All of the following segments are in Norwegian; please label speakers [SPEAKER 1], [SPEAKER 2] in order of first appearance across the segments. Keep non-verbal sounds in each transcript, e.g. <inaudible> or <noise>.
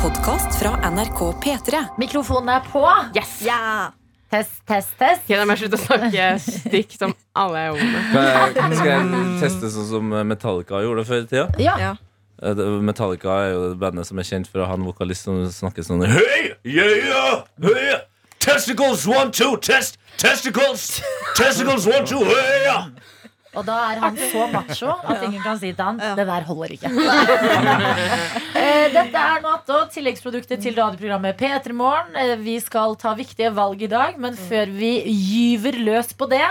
[SPEAKER 1] podkast fra NRK P3.
[SPEAKER 2] Mikrofonen er på. Yes!
[SPEAKER 3] Ja.
[SPEAKER 2] Test, test, test.
[SPEAKER 4] Ok, Da må jeg slutte å snakke stikk som alle er homo.
[SPEAKER 5] Men Skal jeg teste sånn som Metallica gjorde før i tida?
[SPEAKER 2] Ja.
[SPEAKER 3] Ja.
[SPEAKER 5] Eh, det- Metallica er jo det bandet som er kjent for å ha en vokalist som snakker sånn Hei, yeah, yeah, hey, testicles, one, two, test, testicles, testicles, one, two, hey, yeah.
[SPEAKER 2] Og da er han så macho at ingen kan si til han det der holder ikke. <laughs> Eh, Dette er noe annet, tilleggsproduktet til radioprogrammet P3 Morgen. Eh, Vi skal ta viktige valg i dag, men før vi gyver løs på det,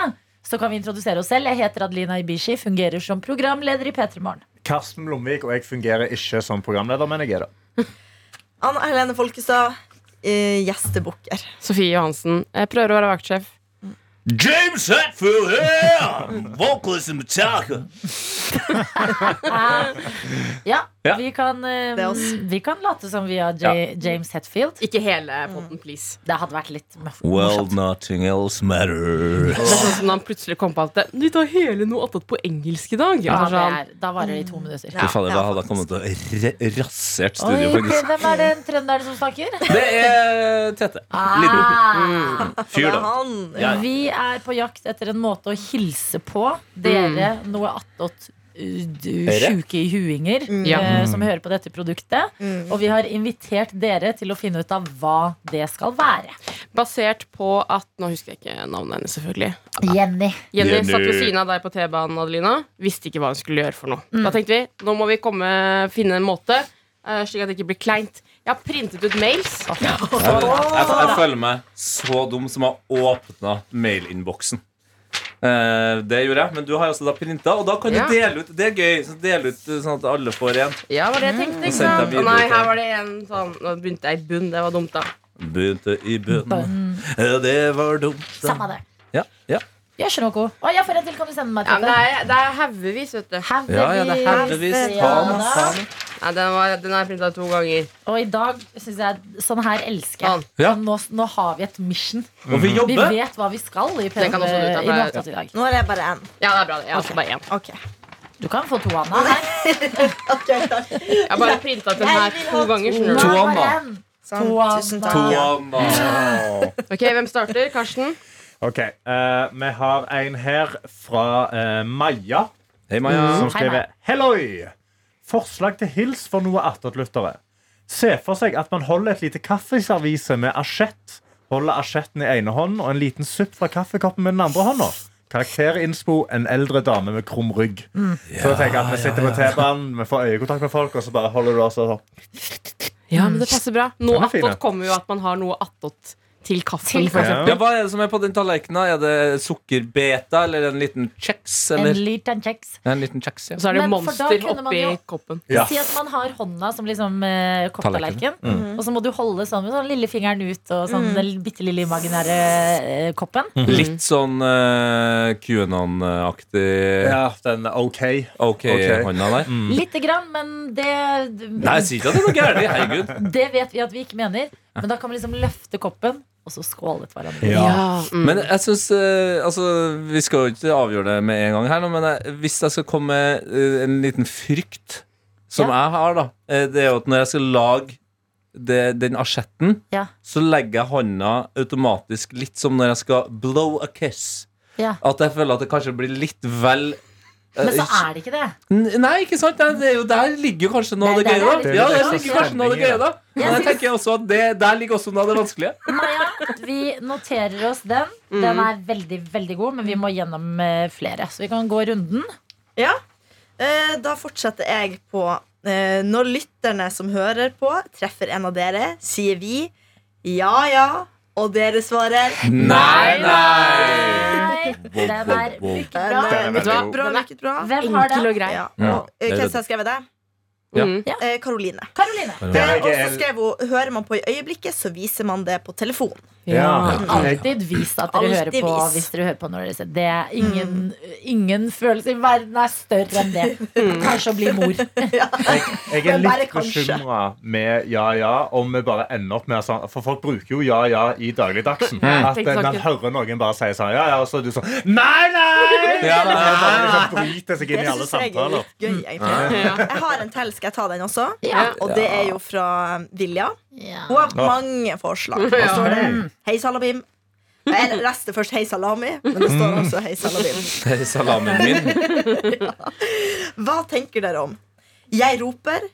[SPEAKER 2] så kan vi introdusere oss selv. Jeg heter Adelina Ibishi, fungerer som programleder i P3 Morgen.
[SPEAKER 6] Karsten Blomvik og jeg fungerer ikke som programleder, men jeg er det.
[SPEAKER 3] Anna Helene Folkestad, eh, gjestebukker.
[SPEAKER 4] Sofie Johansen. Jeg prøver å være vaktsjef.
[SPEAKER 5] James Hetfield, yeah, vocalist in Metallica.
[SPEAKER 2] Ja,
[SPEAKER 5] Ja.
[SPEAKER 2] Vi, kan, eh,
[SPEAKER 3] Det er oss.
[SPEAKER 2] vi kan late som vi er J James Hetfield.
[SPEAKER 4] Ikke hele potten, please.
[SPEAKER 2] Det hadde vært litt
[SPEAKER 5] Well,
[SPEAKER 2] morsomt.
[SPEAKER 5] nothing else matters.
[SPEAKER 4] Det er sånn som når han plutselig kom på at Vi tar hele noe attåt på engelsk i dag.
[SPEAKER 2] Ja,
[SPEAKER 4] Og så
[SPEAKER 2] det
[SPEAKER 4] er han,
[SPEAKER 2] er, da varer det i to minutter.
[SPEAKER 3] Ja,
[SPEAKER 5] Fy fader, da
[SPEAKER 3] ja,
[SPEAKER 5] hadde jeg kommet til å ra- rasert
[SPEAKER 2] Oi,
[SPEAKER 5] studio, faktisk.
[SPEAKER 2] hvem er den trønderen som
[SPEAKER 4] <laughs>
[SPEAKER 2] snakker?
[SPEAKER 5] Det er Tete. Lidbo.
[SPEAKER 2] Ah.
[SPEAKER 5] Fyr,
[SPEAKER 3] Det er
[SPEAKER 5] da.
[SPEAKER 3] han.
[SPEAKER 5] Mm, Ja.
[SPEAKER 2] Vi er på jakt etter en måte å hilse på dere,
[SPEAKER 5] Mm.
[SPEAKER 2] noe attåt uh, du
[SPEAKER 5] Dere?
[SPEAKER 2] sjuke i huinger
[SPEAKER 4] Ja.
[SPEAKER 5] Mm.
[SPEAKER 2] eh, som hører på dette produktet.
[SPEAKER 4] Mm.
[SPEAKER 2] Og vi har invitert dere til å finne ut av hva det skal være.
[SPEAKER 4] basert på at Nå husker jeg ikke navnet hennes, selvfølgelig.
[SPEAKER 2] Jenny.
[SPEAKER 4] Jenny
[SPEAKER 5] Jenny.
[SPEAKER 4] satt ved siden av deg på T-banen, Adelina. Visste ikke hva hun skulle gjøre for noe. Da tenkte vi nå må vi komme, finne en måte, eh, slik at det ikke blir kleint. Jeg har printet ut mails.
[SPEAKER 5] Jeg, jeg, jeg føler meg så dum som har åpna mailinnboksen. Eh, det gjorde jeg, men du har også da printa, og da kan du
[SPEAKER 4] Ja.
[SPEAKER 5] dele ut. Det er gøy. Så dele ut eh, sånn at alle får en.
[SPEAKER 4] Ja, var det jeg tenkte.
[SPEAKER 5] Og
[SPEAKER 4] Ikke
[SPEAKER 5] sendte
[SPEAKER 4] sant?
[SPEAKER 5] deg
[SPEAKER 4] Å nei,
[SPEAKER 5] videre til-
[SPEAKER 4] her var det en sånn Nå begynte jeg i bunn. Det var dumt, da.
[SPEAKER 5] Begynte i bunnen. Ja, det var dumt. da.
[SPEAKER 2] Samme det.
[SPEAKER 5] Ja, ja.
[SPEAKER 2] Gjør ikke noe. Å, jeg får en til. Kan du sende meg
[SPEAKER 4] Ja,
[SPEAKER 2] til
[SPEAKER 4] men det er, det er haugevis, vet du.
[SPEAKER 2] Haugevis.
[SPEAKER 5] ja, ja, det er heldigvis. Ta
[SPEAKER 2] Ja,
[SPEAKER 5] den,
[SPEAKER 2] da.
[SPEAKER 5] ta den.
[SPEAKER 4] Nei, den, var, den har jeg printa to ganger.
[SPEAKER 2] Og i dag syns jeg Sånn her elsker jeg.
[SPEAKER 4] Sånn.
[SPEAKER 5] Ja.
[SPEAKER 2] Nå, nå har vi et mission.
[SPEAKER 5] Og vi
[SPEAKER 2] Vi
[SPEAKER 5] jobber.
[SPEAKER 2] vet hva vi skal i
[SPEAKER 4] Det kan også du
[SPEAKER 2] P3
[SPEAKER 4] ta
[SPEAKER 2] i
[SPEAKER 4] med.
[SPEAKER 2] Låtåt i dag.
[SPEAKER 3] Nå er jeg bare én.
[SPEAKER 4] Ja, det er bra. det. Jeg har også bare én.
[SPEAKER 3] Ok.
[SPEAKER 2] Du kan få to, Anna. Her.
[SPEAKER 3] Ok, takk.
[SPEAKER 4] Jeg har bare printa den her to ganger. skjønner du.
[SPEAKER 5] To,
[SPEAKER 2] Nei, bare
[SPEAKER 5] Anna.
[SPEAKER 2] en.
[SPEAKER 3] Sånn.
[SPEAKER 2] Anna.
[SPEAKER 3] Tusen takk.
[SPEAKER 2] To
[SPEAKER 5] Anna.
[SPEAKER 4] Ok, Hvem starter? Karsten?
[SPEAKER 6] Ok, eh, Vi har en her fra eh, Maja,
[SPEAKER 5] Hei, Maja.
[SPEAKER 6] som skriver Helloi! Forslag til hils for noe attåtlyttere. Se for seg at man holder et lite kaffeservise med asjett. Holder asjetten i ene hånden og en liten supp fra kaffekoppen med den andre hånda. Karakterinnspo en eldre dame med krum rygg.
[SPEAKER 5] Mm.
[SPEAKER 6] så tenker jeg at Vi sitter på T-banen, vi får øyekontakt med folk, og så bare holder du oss sånn.
[SPEAKER 4] Ja, men det passer bra. Noe
[SPEAKER 6] Den er fin,
[SPEAKER 4] attåt
[SPEAKER 6] ja.
[SPEAKER 4] kommer jo at man har noe attåt til kaffen.
[SPEAKER 2] Til
[SPEAKER 4] for
[SPEAKER 6] Ja.
[SPEAKER 4] eksempel.
[SPEAKER 5] Ja, hva er det som er på den tallerkenen? Er det sukkerbeta eller en liten kjeks?
[SPEAKER 2] En
[SPEAKER 5] Eller?
[SPEAKER 2] liten kjeks.
[SPEAKER 5] En liten kjeks, ja.
[SPEAKER 4] Og så er det
[SPEAKER 2] Men for da
[SPEAKER 4] monster
[SPEAKER 2] kunne man
[SPEAKER 4] oppi
[SPEAKER 2] jo-
[SPEAKER 4] koppen.
[SPEAKER 6] Ja.
[SPEAKER 2] Si at man har hånda som liksom eh, kopptallerken,
[SPEAKER 5] Mm.
[SPEAKER 2] og så må du holde sånn med sånn lille fingeren ut og sånn den bitte lille imaginære eh, koppen.
[SPEAKER 5] Litt sånn eh, QAnon-aktig
[SPEAKER 6] den er OK. Ok.
[SPEAKER 5] OK-hånda der.
[SPEAKER 2] Lite grann, men det,
[SPEAKER 5] Mm. Nei, jeg sier ikke at det er noe gærent. Herregud.
[SPEAKER 2] det vet vi at vi ikke mener. Men da kan vi liksom løfte koppen, og så skålet hverandre.
[SPEAKER 4] mm.
[SPEAKER 5] <laughs> Men jeg syns eh, Altså, vi skal jo ikke avgjøre det med en gang her, nå, men jeg, hvis jeg skal komme med eh, en liten frykt som jeg har, da, eh, det er jo at når jeg skal lage det, den asjetten,
[SPEAKER 2] Ja.
[SPEAKER 5] så legger jeg hånda automatisk litt som når jeg skal blow a kiss.
[SPEAKER 2] Ja.
[SPEAKER 5] At jeg føler at det kanskje blir litt vel eh,
[SPEAKER 2] Men så er det ikke det.
[SPEAKER 5] N- Nei, ikke sant? Nei, det er jo, der ligger jo kanskje noe av
[SPEAKER 2] Nei,
[SPEAKER 5] det
[SPEAKER 2] der
[SPEAKER 5] gøye,
[SPEAKER 2] er
[SPEAKER 5] da.
[SPEAKER 2] det sånn
[SPEAKER 5] Ja,
[SPEAKER 6] litt
[SPEAKER 5] der
[SPEAKER 6] ekstra
[SPEAKER 5] ligger kanskje noe av det
[SPEAKER 6] stemning i
[SPEAKER 5] gøye, da. Men jeg tenker også at det, der ligger også noe av det vanskelige.
[SPEAKER 2] Maja, vi noterer oss den. Den
[SPEAKER 5] Mm.
[SPEAKER 2] er veldig, veldig god, men vi må gjennom eh, flere. Så vi kan gå runden.
[SPEAKER 3] Ja. Eh, Da fortsetter jeg på eh, Når lytterne som hører på, treffer en av dere, sier vi ja ja, og dere svarer
[SPEAKER 5] Nei, nei!
[SPEAKER 2] Nei, den er mycket bra.
[SPEAKER 3] Nei,
[SPEAKER 6] Vet du hva?
[SPEAKER 3] Bra,
[SPEAKER 4] Den er-
[SPEAKER 3] mycket bra.
[SPEAKER 2] Hvem har
[SPEAKER 4] Enkel
[SPEAKER 2] den?
[SPEAKER 4] og grei.
[SPEAKER 3] Ja.
[SPEAKER 5] Ja.
[SPEAKER 3] Og, eh, Hvem som har skrevet det?
[SPEAKER 5] Ja.
[SPEAKER 4] Mm.
[SPEAKER 3] Eh, Karoline.
[SPEAKER 2] Karoline.
[SPEAKER 3] Eh,
[SPEAKER 6] Ja.
[SPEAKER 3] Og så skrev hun hører man på i øyeblikket, så viser man det på telefon.
[SPEAKER 6] Ja. Jeg,
[SPEAKER 2] Alltid vis at dere hører
[SPEAKER 3] Alltid
[SPEAKER 2] på
[SPEAKER 3] vis.
[SPEAKER 2] hvis dere hører på når dere ser det. er Ingen, ingen følelse i verden er større enn det.
[SPEAKER 3] Mm.
[SPEAKER 2] Kanskje å bli
[SPEAKER 3] <laughs>
[SPEAKER 2] mor.
[SPEAKER 6] jeg er
[SPEAKER 3] Men bare
[SPEAKER 6] litt
[SPEAKER 3] kanskje.
[SPEAKER 6] bekymra med ja ja, om vi bare ender opp med sånn For folk bruker jo ja ja i dagligdagsen. At eh, man hører noen bare si sånn ja ja, og så er du sånn nei, nei!
[SPEAKER 5] Ja, nei,
[SPEAKER 3] <laughs>
[SPEAKER 6] Og bare liksom bryter seg inn
[SPEAKER 3] Det
[SPEAKER 6] i alle
[SPEAKER 3] syns jeg er
[SPEAKER 6] samtaler.
[SPEAKER 3] litt gøy, egentlig. Jeg har en til Skal jeg ta den også?
[SPEAKER 4] Ja.
[SPEAKER 3] Og det er jo fra um, Vilja.
[SPEAKER 2] Ja.
[SPEAKER 3] Hun har mange forslag. Og så står det
[SPEAKER 6] Hei.
[SPEAKER 3] Hei, Salabim. Jeg leste først Hei, salami, men det står også Hei, Salabim.
[SPEAKER 5] Hei, Salamen min.
[SPEAKER 3] Hva tenker dere om? Jeg roper,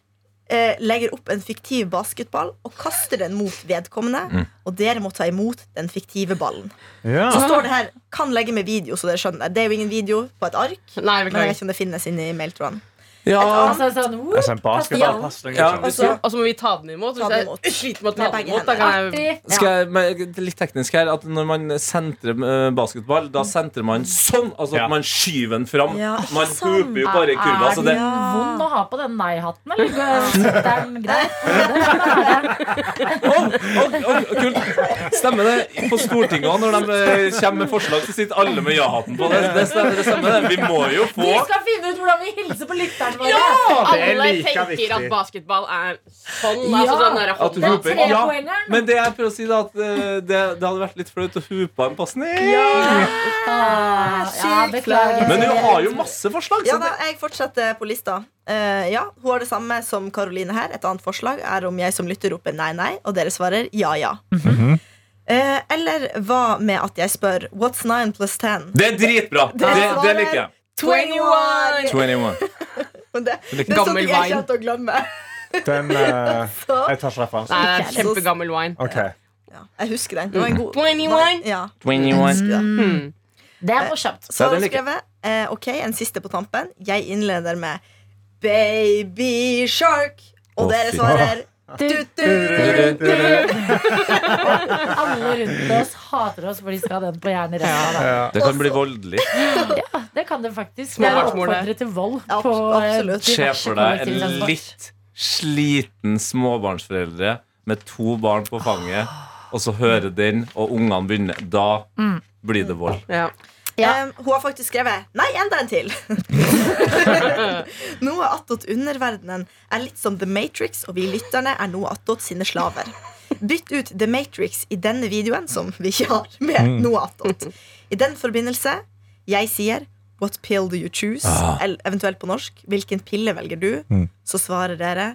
[SPEAKER 3] eh, legger opp en fiktiv basketball og kaster den mot vedkommende,
[SPEAKER 6] Mm.
[SPEAKER 3] og dere må ta imot den fiktive ballen.
[SPEAKER 6] Ja.
[SPEAKER 3] Så står det her 'kan legge med video', så dere skjønner. Det er jo ingen video på et ark,
[SPEAKER 4] Nei,
[SPEAKER 3] men jeg vet
[SPEAKER 4] beklager.
[SPEAKER 3] ikke om det finnes inni mailtråden.
[SPEAKER 5] Ja.
[SPEAKER 2] Altså, sånn, whoop,
[SPEAKER 6] Altså, en basketballpasning. liksom.
[SPEAKER 5] Ja.
[SPEAKER 3] Og så
[SPEAKER 4] Og så må vi ta den imot.
[SPEAKER 3] Ta
[SPEAKER 4] Hvis
[SPEAKER 3] den
[SPEAKER 4] jeg
[SPEAKER 3] imot.
[SPEAKER 4] sliter med å
[SPEAKER 3] Med
[SPEAKER 4] ta den
[SPEAKER 3] begge
[SPEAKER 4] imot, da kan jeg
[SPEAKER 2] artig.
[SPEAKER 5] Skal jeg, men det er litt teknisk her At Når man sentrer eh, basketball, da sentrer man sånn. Altså
[SPEAKER 6] Ja.
[SPEAKER 5] at man skyver den fram.
[SPEAKER 3] Ja,
[SPEAKER 5] man
[SPEAKER 3] sånn.
[SPEAKER 5] hooper jo bare i kurva. Så
[SPEAKER 2] er
[SPEAKER 5] det,
[SPEAKER 2] den vond å ha på den nei-hatten, eller sitter den
[SPEAKER 3] <laughs>
[SPEAKER 2] greit? Den er
[SPEAKER 5] Oi, oi, kult. Stemmer det? På Stortinget også, når de eh, kommer med forslag, så sitter alle med ja-hatten på. Det, det, stemmer, det stemmer, det. Vi må jo
[SPEAKER 2] Vi
[SPEAKER 5] få
[SPEAKER 2] skal finne ut hvordan vi hilser på lytterne våre.
[SPEAKER 6] det er
[SPEAKER 4] Alle
[SPEAKER 6] like
[SPEAKER 4] tenker
[SPEAKER 6] viktig.
[SPEAKER 4] at basketball er sånn.
[SPEAKER 2] Ja.
[SPEAKER 4] Altså den der
[SPEAKER 5] At du
[SPEAKER 4] hånda.
[SPEAKER 5] hooper.
[SPEAKER 2] Tre
[SPEAKER 5] Ja,
[SPEAKER 2] poengeren.
[SPEAKER 5] men det jeg prøver å si, da, at eh, det, det hadde vært litt flaut å hoope en pasning.
[SPEAKER 2] Ah, ja,
[SPEAKER 3] sykt
[SPEAKER 2] beklager.
[SPEAKER 5] Men du har jo masse forslag.
[SPEAKER 3] Ja
[SPEAKER 5] Så
[SPEAKER 3] da,
[SPEAKER 5] det,
[SPEAKER 3] jeg fortsetter på lista. Eh, ja, Hun har det samme som Karoline her. Et annet forslag er om jeg som lytter roper nei, nei, og dere svarer ja, ja.
[SPEAKER 5] Mhm.
[SPEAKER 3] Eh, eller hva med at jeg spør 'What's 9 plus 10?'
[SPEAKER 5] det er dritbra. Det, det liker jeg.
[SPEAKER 3] 21!
[SPEAKER 5] 21.
[SPEAKER 3] Men det, det er sånt
[SPEAKER 4] Gammel
[SPEAKER 3] jeg ikke
[SPEAKER 4] vine.
[SPEAKER 3] kommer til å glemme.
[SPEAKER 6] Den eh,
[SPEAKER 3] Så,
[SPEAKER 6] Jeg tar ikke referansen.
[SPEAKER 4] Nei, det er kjempegammel wine.
[SPEAKER 6] Ok.
[SPEAKER 3] ja, jeg husker den. Det var en god
[SPEAKER 4] 21.
[SPEAKER 3] Ja,
[SPEAKER 5] 21.
[SPEAKER 3] husker den.
[SPEAKER 4] Hmm.
[SPEAKER 2] Det er morsomt.
[SPEAKER 3] Så
[SPEAKER 5] Ja,
[SPEAKER 3] har
[SPEAKER 5] den
[SPEAKER 3] hun
[SPEAKER 5] liker
[SPEAKER 3] skrevet eh, Ok, en siste på tampen. Jeg innleder med Baby Shark. Og
[SPEAKER 5] Å,
[SPEAKER 3] dere
[SPEAKER 5] fy.
[SPEAKER 3] svarer
[SPEAKER 2] Du,
[SPEAKER 3] du,
[SPEAKER 5] du, du,
[SPEAKER 2] alle rundt oss hater oss, for de skal ha den på hjernen i resten av dagen.
[SPEAKER 5] Det kan bli voldelig.
[SPEAKER 2] Ja, det kan det faktisk. Det er å
[SPEAKER 4] Småbarnsmor,
[SPEAKER 2] oppfordre til vold
[SPEAKER 3] Abs-
[SPEAKER 2] på eh,
[SPEAKER 3] absolutt.
[SPEAKER 5] Se
[SPEAKER 2] diverse
[SPEAKER 5] for deg en
[SPEAKER 2] kollektivtransport.
[SPEAKER 5] litt sliten småbarnsforeldre med to barn på fanget, og så hører den, og ungene begynner. Da blir det vold.
[SPEAKER 4] Ja.
[SPEAKER 2] Ja.
[SPEAKER 3] Eh, hun har faktisk skrevet Nei, enda en til. noe attåt underverdenen er litt som The Matrix, og vi lytterne er noe attåt sine slaver. Bytt ut The Matrix i denne videoen, som vi ikke har, med noe attåt. I den forbindelse, jeg sier What pill do you choose?
[SPEAKER 5] Ah.
[SPEAKER 3] Eller eventuelt på norsk, hvilken pille velger du?
[SPEAKER 6] Mm.
[SPEAKER 3] Så svarer dere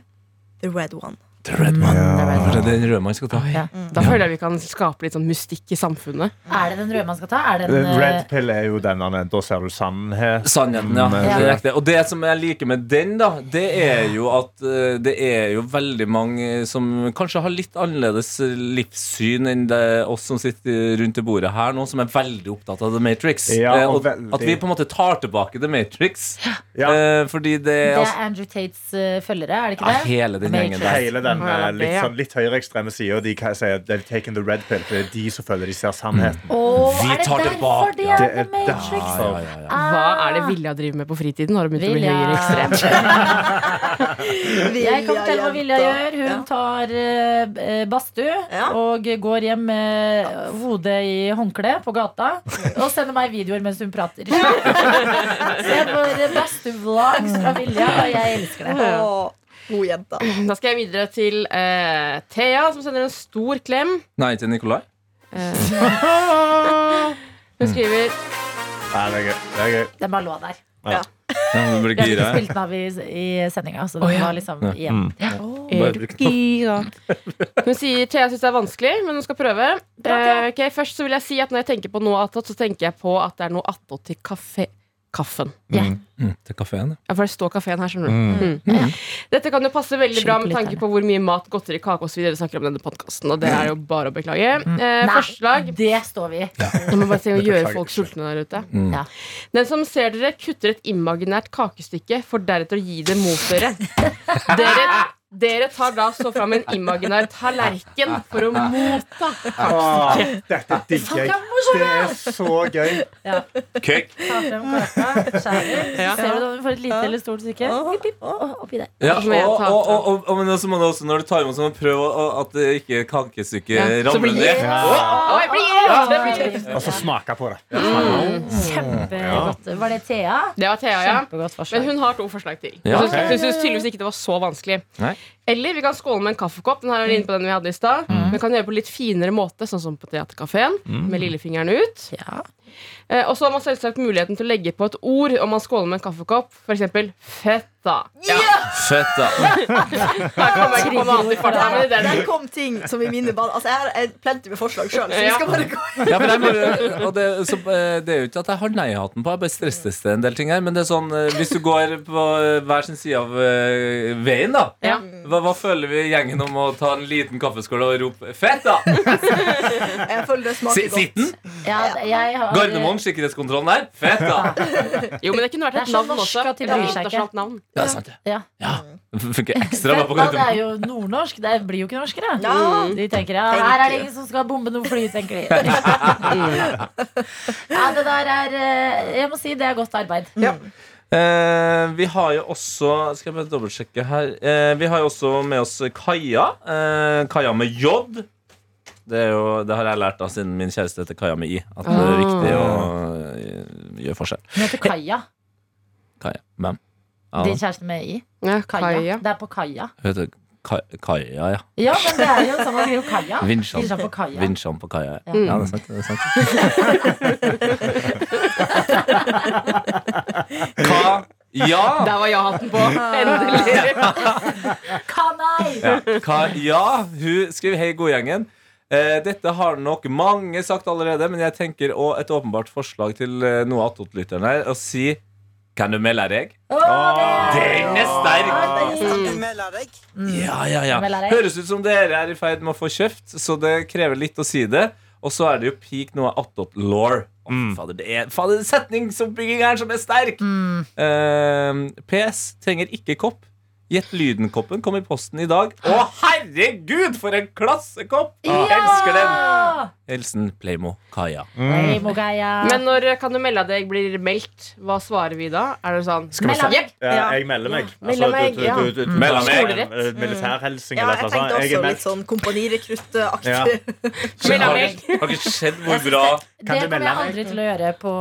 [SPEAKER 3] The red one.
[SPEAKER 5] The red man.
[SPEAKER 2] Ja.
[SPEAKER 5] Det er den røde man skal ta.
[SPEAKER 2] Ja.
[SPEAKER 4] Da føler jeg vi kan skape litt sånn mystikk i samfunnet.
[SPEAKER 2] Er det den røde man skal ta? Er det den, eh,
[SPEAKER 6] Red pill er jo denne. Da ser du sannhet.
[SPEAKER 5] Sannheten, ja.
[SPEAKER 6] Men-
[SPEAKER 5] Det er riktig. Og det som jeg liker med den, da, det er jo at eh, det er jo veldig mange som kanskje har litt annerledes livssyn enn det oss som sitter rundt det bordet her nå, som er veldig opptatt av The Matrix.
[SPEAKER 6] Ja,
[SPEAKER 5] Eh,
[SPEAKER 6] og
[SPEAKER 5] og
[SPEAKER 6] veldig.
[SPEAKER 5] at vi på en måte tar tilbake The Matrix.
[SPEAKER 6] Ja.
[SPEAKER 5] eh, Fordi det
[SPEAKER 2] det
[SPEAKER 5] altså,
[SPEAKER 2] er Andrew Tates eh, følgere, er det ikke
[SPEAKER 5] ja,
[SPEAKER 2] det?
[SPEAKER 5] Hele den gjengen der.
[SPEAKER 6] Hele den eh,
[SPEAKER 4] Ja, det,
[SPEAKER 6] litt,
[SPEAKER 4] ja.
[SPEAKER 6] sånn, litt høyreekstreme sida. De kan si at they've taken the red pill. Det er de som føler de ser sannheten.
[SPEAKER 2] Åh,
[SPEAKER 5] Vi
[SPEAKER 2] er det
[SPEAKER 5] tar
[SPEAKER 2] derfor
[SPEAKER 5] tilbake-
[SPEAKER 2] de
[SPEAKER 5] Ja.
[SPEAKER 2] Mm. er The
[SPEAKER 6] Det er
[SPEAKER 2] Matrix?
[SPEAKER 5] Ja, ja, ja, ja.
[SPEAKER 4] Hva er det Vilja driver med på fritiden? Har hun begynt å bli
[SPEAKER 2] Vilja.
[SPEAKER 4] høyreekstrem?
[SPEAKER 2] Jeg kan fortelle hva Vilja
[SPEAKER 3] Vilja
[SPEAKER 2] gjør. Hun
[SPEAKER 3] jenta.
[SPEAKER 2] tar eh, eh, badstue
[SPEAKER 3] Ja.
[SPEAKER 2] og går hjem med hodet i håndkle på gata og sender meg videoer mens hun prater. Så jeg får eh, badstue-vlogs fra Vilja, og jeg elsker det.
[SPEAKER 3] Ja. Å, god jenta.
[SPEAKER 4] <laughs> Da skal jeg videre til eh, Thea, som sender en stor klem.
[SPEAKER 5] Nei, til Nikolai?
[SPEAKER 4] Eh, <laughs> hun skriver
[SPEAKER 6] Ja, det er gøy. Det er gøy.
[SPEAKER 2] Den bare lå der.
[SPEAKER 5] Ja, du blir
[SPEAKER 2] Vi hadde ikke
[SPEAKER 5] gira. jeg.
[SPEAKER 2] spilt den av i, i sendinga, så den
[SPEAKER 4] Å, ja.
[SPEAKER 2] var liksom
[SPEAKER 5] Ja.
[SPEAKER 2] igjen.
[SPEAKER 5] Bare bruk den.
[SPEAKER 4] Hun sier Thea syns det er vanskelig, men hun skal prøve. Eh, ok, først så vil jeg si at når jeg tenker på noe attåt, så tenker jeg på at det er noe attåt til kaffe... kaffen.
[SPEAKER 5] Mm, til kafeen, ja.
[SPEAKER 4] Ja, for det står kafeen her, skjønner du. Mm. Dette kan jo passe veldig bra med tanke på hvor mye mat, godteri, kake osv. dere snakker om i denne podkasten, og det er jo bare å beklage. Eh,
[SPEAKER 2] Nei.
[SPEAKER 4] forslag
[SPEAKER 2] Det står vi i.
[SPEAKER 4] Jeg må bare si å
[SPEAKER 6] Det
[SPEAKER 4] gjøre
[SPEAKER 6] beklager
[SPEAKER 4] folk
[SPEAKER 6] jeg.
[SPEAKER 4] sultne der ute.
[SPEAKER 5] Mm.
[SPEAKER 2] Ja.
[SPEAKER 4] Den som ser dere, kutter et imaginært kakestykke for deretter å gi det mot dere. Dere, dere tar da så fram en imaginær tallerken for å motta.
[SPEAKER 6] Ah, dette digger jeg. Det er så gøy.
[SPEAKER 5] Cake.
[SPEAKER 2] Ta frem kaka, skjærer.
[SPEAKER 4] Ja.
[SPEAKER 2] Så ser du om du får et lite eller stort stykke. Pip, pip, og Oppi der.
[SPEAKER 5] Ja,
[SPEAKER 4] Så må jeg
[SPEAKER 5] og,
[SPEAKER 4] ta-
[SPEAKER 5] og, og, og, og, men også må du også, når du tar imot, så må du prøve å- å- at det ikke kakestykket
[SPEAKER 4] Ja, så
[SPEAKER 5] ramler
[SPEAKER 4] blir-
[SPEAKER 5] ned.
[SPEAKER 4] Å, jeg blir irritert, jeg blir irritert.
[SPEAKER 6] Og så smake på det.
[SPEAKER 2] Kjempegodt. Var det Thea?
[SPEAKER 4] Det var Thea, ja.
[SPEAKER 2] Kjempegodt forslag.
[SPEAKER 4] Men hun har to forslag til.
[SPEAKER 5] Ja.
[SPEAKER 4] Hun syns- Hun syns tydeligvis ikke det var så vanskelig.
[SPEAKER 5] Nei.
[SPEAKER 4] Eller vi kan skåle med en kaffekopp. Den her er inne på den
[SPEAKER 6] Mm.
[SPEAKER 4] vi hadde i stad. Vi kan gjøre på litt finere måte, sånn som på Theatercaféen, med lillefingeren ut.
[SPEAKER 2] Ja.
[SPEAKER 4] Eh, og så har man selvsagt muligheten til å legge på et ord om man skåler med en kaffekopp. F.eks. fetta. Ja,
[SPEAKER 5] Fett, da.
[SPEAKER 4] her kommer jeg ikke på noe annet i farta, men det er
[SPEAKER 3] Der
[SPEAKER 4] den.
[SPEAKER 3] kom ting som i mine bad Altså, jeg har eh, plenty med forslag sjøl, så vi skal bare gå.
[SPEAKER 5] Ja, men jeg bare, og det, så, eh, det er jo ikke at jeg har nei-hatten på. Jeg bare stresses til en del ting her. Men det er sånn, eh, hvis du går på eh, hver sin side av eh, veien, da.
[SPEAKER 4] Ja.
[SPEAKER 5] Hva, hva føler vi i gjengen om å ta en liten kaffeskål og rope 'fett', da?
[SPEAKER 3] Jeg føler det smaker
[SPEAKER 5] Si-
[SPEAKER 3] godt.
[SPEAKER 5] Sitten?
[SPEAKER 2] Ja, det- jeg har,
[SPEAKER 5] Gardermoen, sikkerhetskontrollen der? Fett, da!
[SPEAKER 4] Jo, men det kunne vært
[SPEAKER 2] Det
[SPEAKER 4] et
[SPEAKER 2] er sånn
[SPEAKER 4] navn
[SPEAKER 2] norsk
[SPEAKER 4] også.
[SPEAKER 2] at de
[SPEAKER 4] Et
[SPEAKER 2] bryr seg ikke.
[SPEAKER 4] internasjonalt navn.
[SPEAKER 5] Ja, det er sant, det.
[SPEAKER 2] Ja.
[SPEAKER 5] Ja, det funker ekstra bra på
[SPEAKER 2] Fetta, det er
[SPEAKER 5] Gardermoen.
[SPEAKER 2] jo nordnorsk. Det blir jo ikke norskere. Mm.
[SPEAKER 3] Ja.
[SPEAKER 2] De tenker ja, her er det ingen som skal bombe noe fly, tenker de. <laughs> Ja, det der er eh, Jeg må si det er godt arbeid.
[SPEAKER 5] Eh, vi har jo også Skal jeg bare dobbeltsjekke her eh, Vi har jo også med oss Kaja. Eh, Kaja med J. Det, er jo, det har jeg lært da siden min kjæreste heter Kaja med I. At det er
[SPEAKER 4] Ah.
[SPEAKER 5] viktig å eh, gjøre forskjell.
[SPEAKER 2] Hun heter Kaja,
[SPEAKER 5] Kaja. Hvem? Ja,
[SPEAKER 2] din kjæreste med i.
[SPEAKER 4] Ja,
[SPEAKER 2] Kaja.
[SPEAKER 4] Kaja.
[SPEAKER 2] Det er på kaia.
[SPEAKER 5] hun heter Ka- Kaja, ja.
[SPEAKER 2] Ja, men det er jo sånn man skriver kaia.
[SPEAKER 5] Vinsjan.
[SPEAKER 2] Vinsjan på kaia.
[SPEAKER 5] Vinsjan på Kaja. Ja,
[SPEAKER 4] Mm.
[SPEAKER 5] ja det er sant. Det er sant. <laughs> Kaja.
[SPEAKER 4] Der var ja-hatten på. Endelig.
[SPEAKER 2] Kanai!
[SPEAKER 5] Ja. Hva, ja, hun skriver Hei, godgjengen. Eh, dette har nok mange sagt allerede, men jeg tenker å, et åpenbart forslag til eh, noe attåtlytteren her, å si Kan du melde deg? Den er sterk! Ja, ja, ja.
[SPEAKER 2] Melde deg.
[SPEAKER 5] Høres ut som dere er i ferd med å få kjøpt, så det krever litt å si det. Og så er det jo peak noe attåt law.
[SPEAKER 6] Mm.
[SPEAKER 5] Fader, det er fader, det er setningsoppbygging her som er sterk! Eh, PS trenger ikke kopp. Gjett lyden-koppen kom i posten i dag. Å, herregud, for en klassekopp! Ah, Elsker den! Hilsen Playmo Kaja.
[SPEAKER 2] Hei, Mogaia.
[SPEAKER 4] Men når eh, kan du melde deg blir meldt, hva svarer vi da? Er det sånn
[SPEAKER 6] Skal vi se?
[SPEAKER 4] Jepp.
[SPEAKER 6] Ja, jeg melder meg. Altså,
[SPEAKER 4] Ja. Melder meg,
[SPEAKER 6] du- du- du- du- du-
[SPEAKER 5] Melder meg.
[SPEAKER 6] Skolerett. Eh, Militærhelsing
[SPEAKER 3] Ja,
[SPEAKER 6] eller
[SPEAKER 3] jeg
[SPEAKER 6] noe
[SPEAKER 3] tenkte
[SPEAKER 6] sånt. Jeg er
[SPEAKER 3] også litt
[SPEAKER 6] meldt.
[SPEAKER 3] sånn kompanirekruttaktig.
[SPEAKER 6] Ja.
[SPEAKER 4] Meld
[SPEAKER 5] Har
[SPEAKER 4] deg.
[SPEAKER 5] dere- har dere sett hvor bra
[SPEAKER 6] Kan
[SPEAKER 2] det
[SPEAKER 6] du
[SPEAKER 2] kommer
[SPEAKER 6] melde
[SPEAKER 2] jeg
[SPEAKER 6] deg?
[SPEAKER 2] aldri til å gjøre på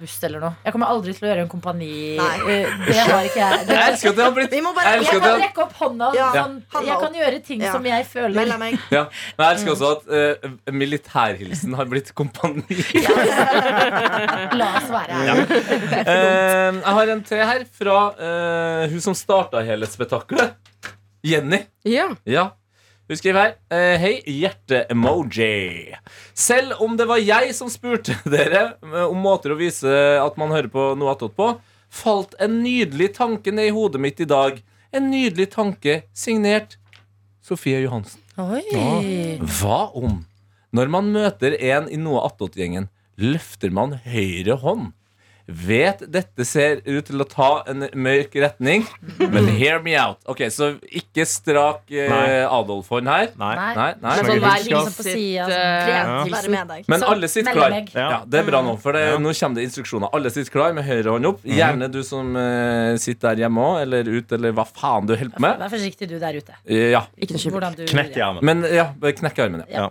[SPEAKER 2] buss eller noe. Jeg kommer aldri til å gjøre en kompani
[SPEAKER 3] Nei.
[SPEAKER 2] Eh, Det har ikke jeg. Det,
[SPEAKER 5] Jeg elsker at det har blitt
[SPEAKER 3] Vi <laughs> må
[SPEAKER 5] Jeg
[SPEAKER 3] bare
[SPEAKER 5] elsker
[SPEAKER 2] jeg
[SPEAKER 5] det.
[SPEAKER 2] kan rekke opp hånda.
[SPEAKER 3] Ja,
[SPEAKER 2] Sånn,
[SPEAKER 3] hånda
[SPEAKER 2] jeg
[SPEAKER 3] opp.
[SPEAKER 2] kan gjøre ting
[SPEAKER 3] Ja.
[SPEAKER 2] som jeg føler.
[SPEAKER 3] melde meg.
[SPEAKER 5] ja. Men jeg elsker også at eh, militærhilsen har blitt kompani.
[SPEAKER 2] La oss være her.
[SPEAKER 5] Eh, jeg har en til her fra eh, hun som starta hele spetakkelet. Jenny.
[SPEAKER 4] Ja.
[SPEAKER 5] Ja. Hun skriver her eh, Hei, hjerte-emoji. Selv om det var jeg som spurte <laughs> dere eh, om måter å vise at man hører på noe attåt på, falt en nydelig tanke ned i hodet mitt i dag. En nydelig tanke signert Sofie Johansen.
[SPEAKER 2] Oi.
[SPEAKER 5] Hva om når man møter en i noe attåt-gjengen, løfter man høyre hånd? Vet dette ser ut til å ta en mørk retning, men hear me out. Ok, Så ikke strak eh,
[SPEAKER 6] Nei.
[SPEAKER 5] Adolf-hånd her.
[SPEAKER 6] Nei.
[SPEAKER 2] Nei. Altså,
[SPEAKER 5] Nei, nei.
[SPEAKER 4] Men sånn
[SPEAKER 6] Snakker
[SPEAKER 4] hver
[SPEAKER 6] du
[SPEAKER 2] skap?
[SPEAKER 4] hilsen på sitt
[SPEAKER 2] Ja.
[SPEAKER 4] eh,
[SPEAKER 3] Ja. Være med deg.
[SPEAKER 5] Men
[SPEAKER 2] Så
[SPEAKER 5] alle sitter
[SPEAKER 2] melder
[SPEAKER 5] klar.
[SPEAKER 2] meg.
[SPEAKER 6] Ja.
[SPEAKER 5] Ja, det er bra nå, for det,
[SPEAKER 6] Ja. Mhm.
[SPEAKER 5] nå kommer det instruksjoner. Alle sitter klar med høyre hånd opp. Gjerne du som eh, sitter der hjemme òg, eller ut, eller hva faen du holder på med.
[SPEAKER 2] Vær forsiktig, du der ute.
[SPEAKER 5] Eh, Ja,
[SPEAKER 4] Ikke noe kjipt.
[SPEAKER 2] Hvordan du
[SPEAKER 6] Knekk i armen.
[SPEAKER 5] Men ja, bare knekk armen.
[SPEAKER 6] Ja.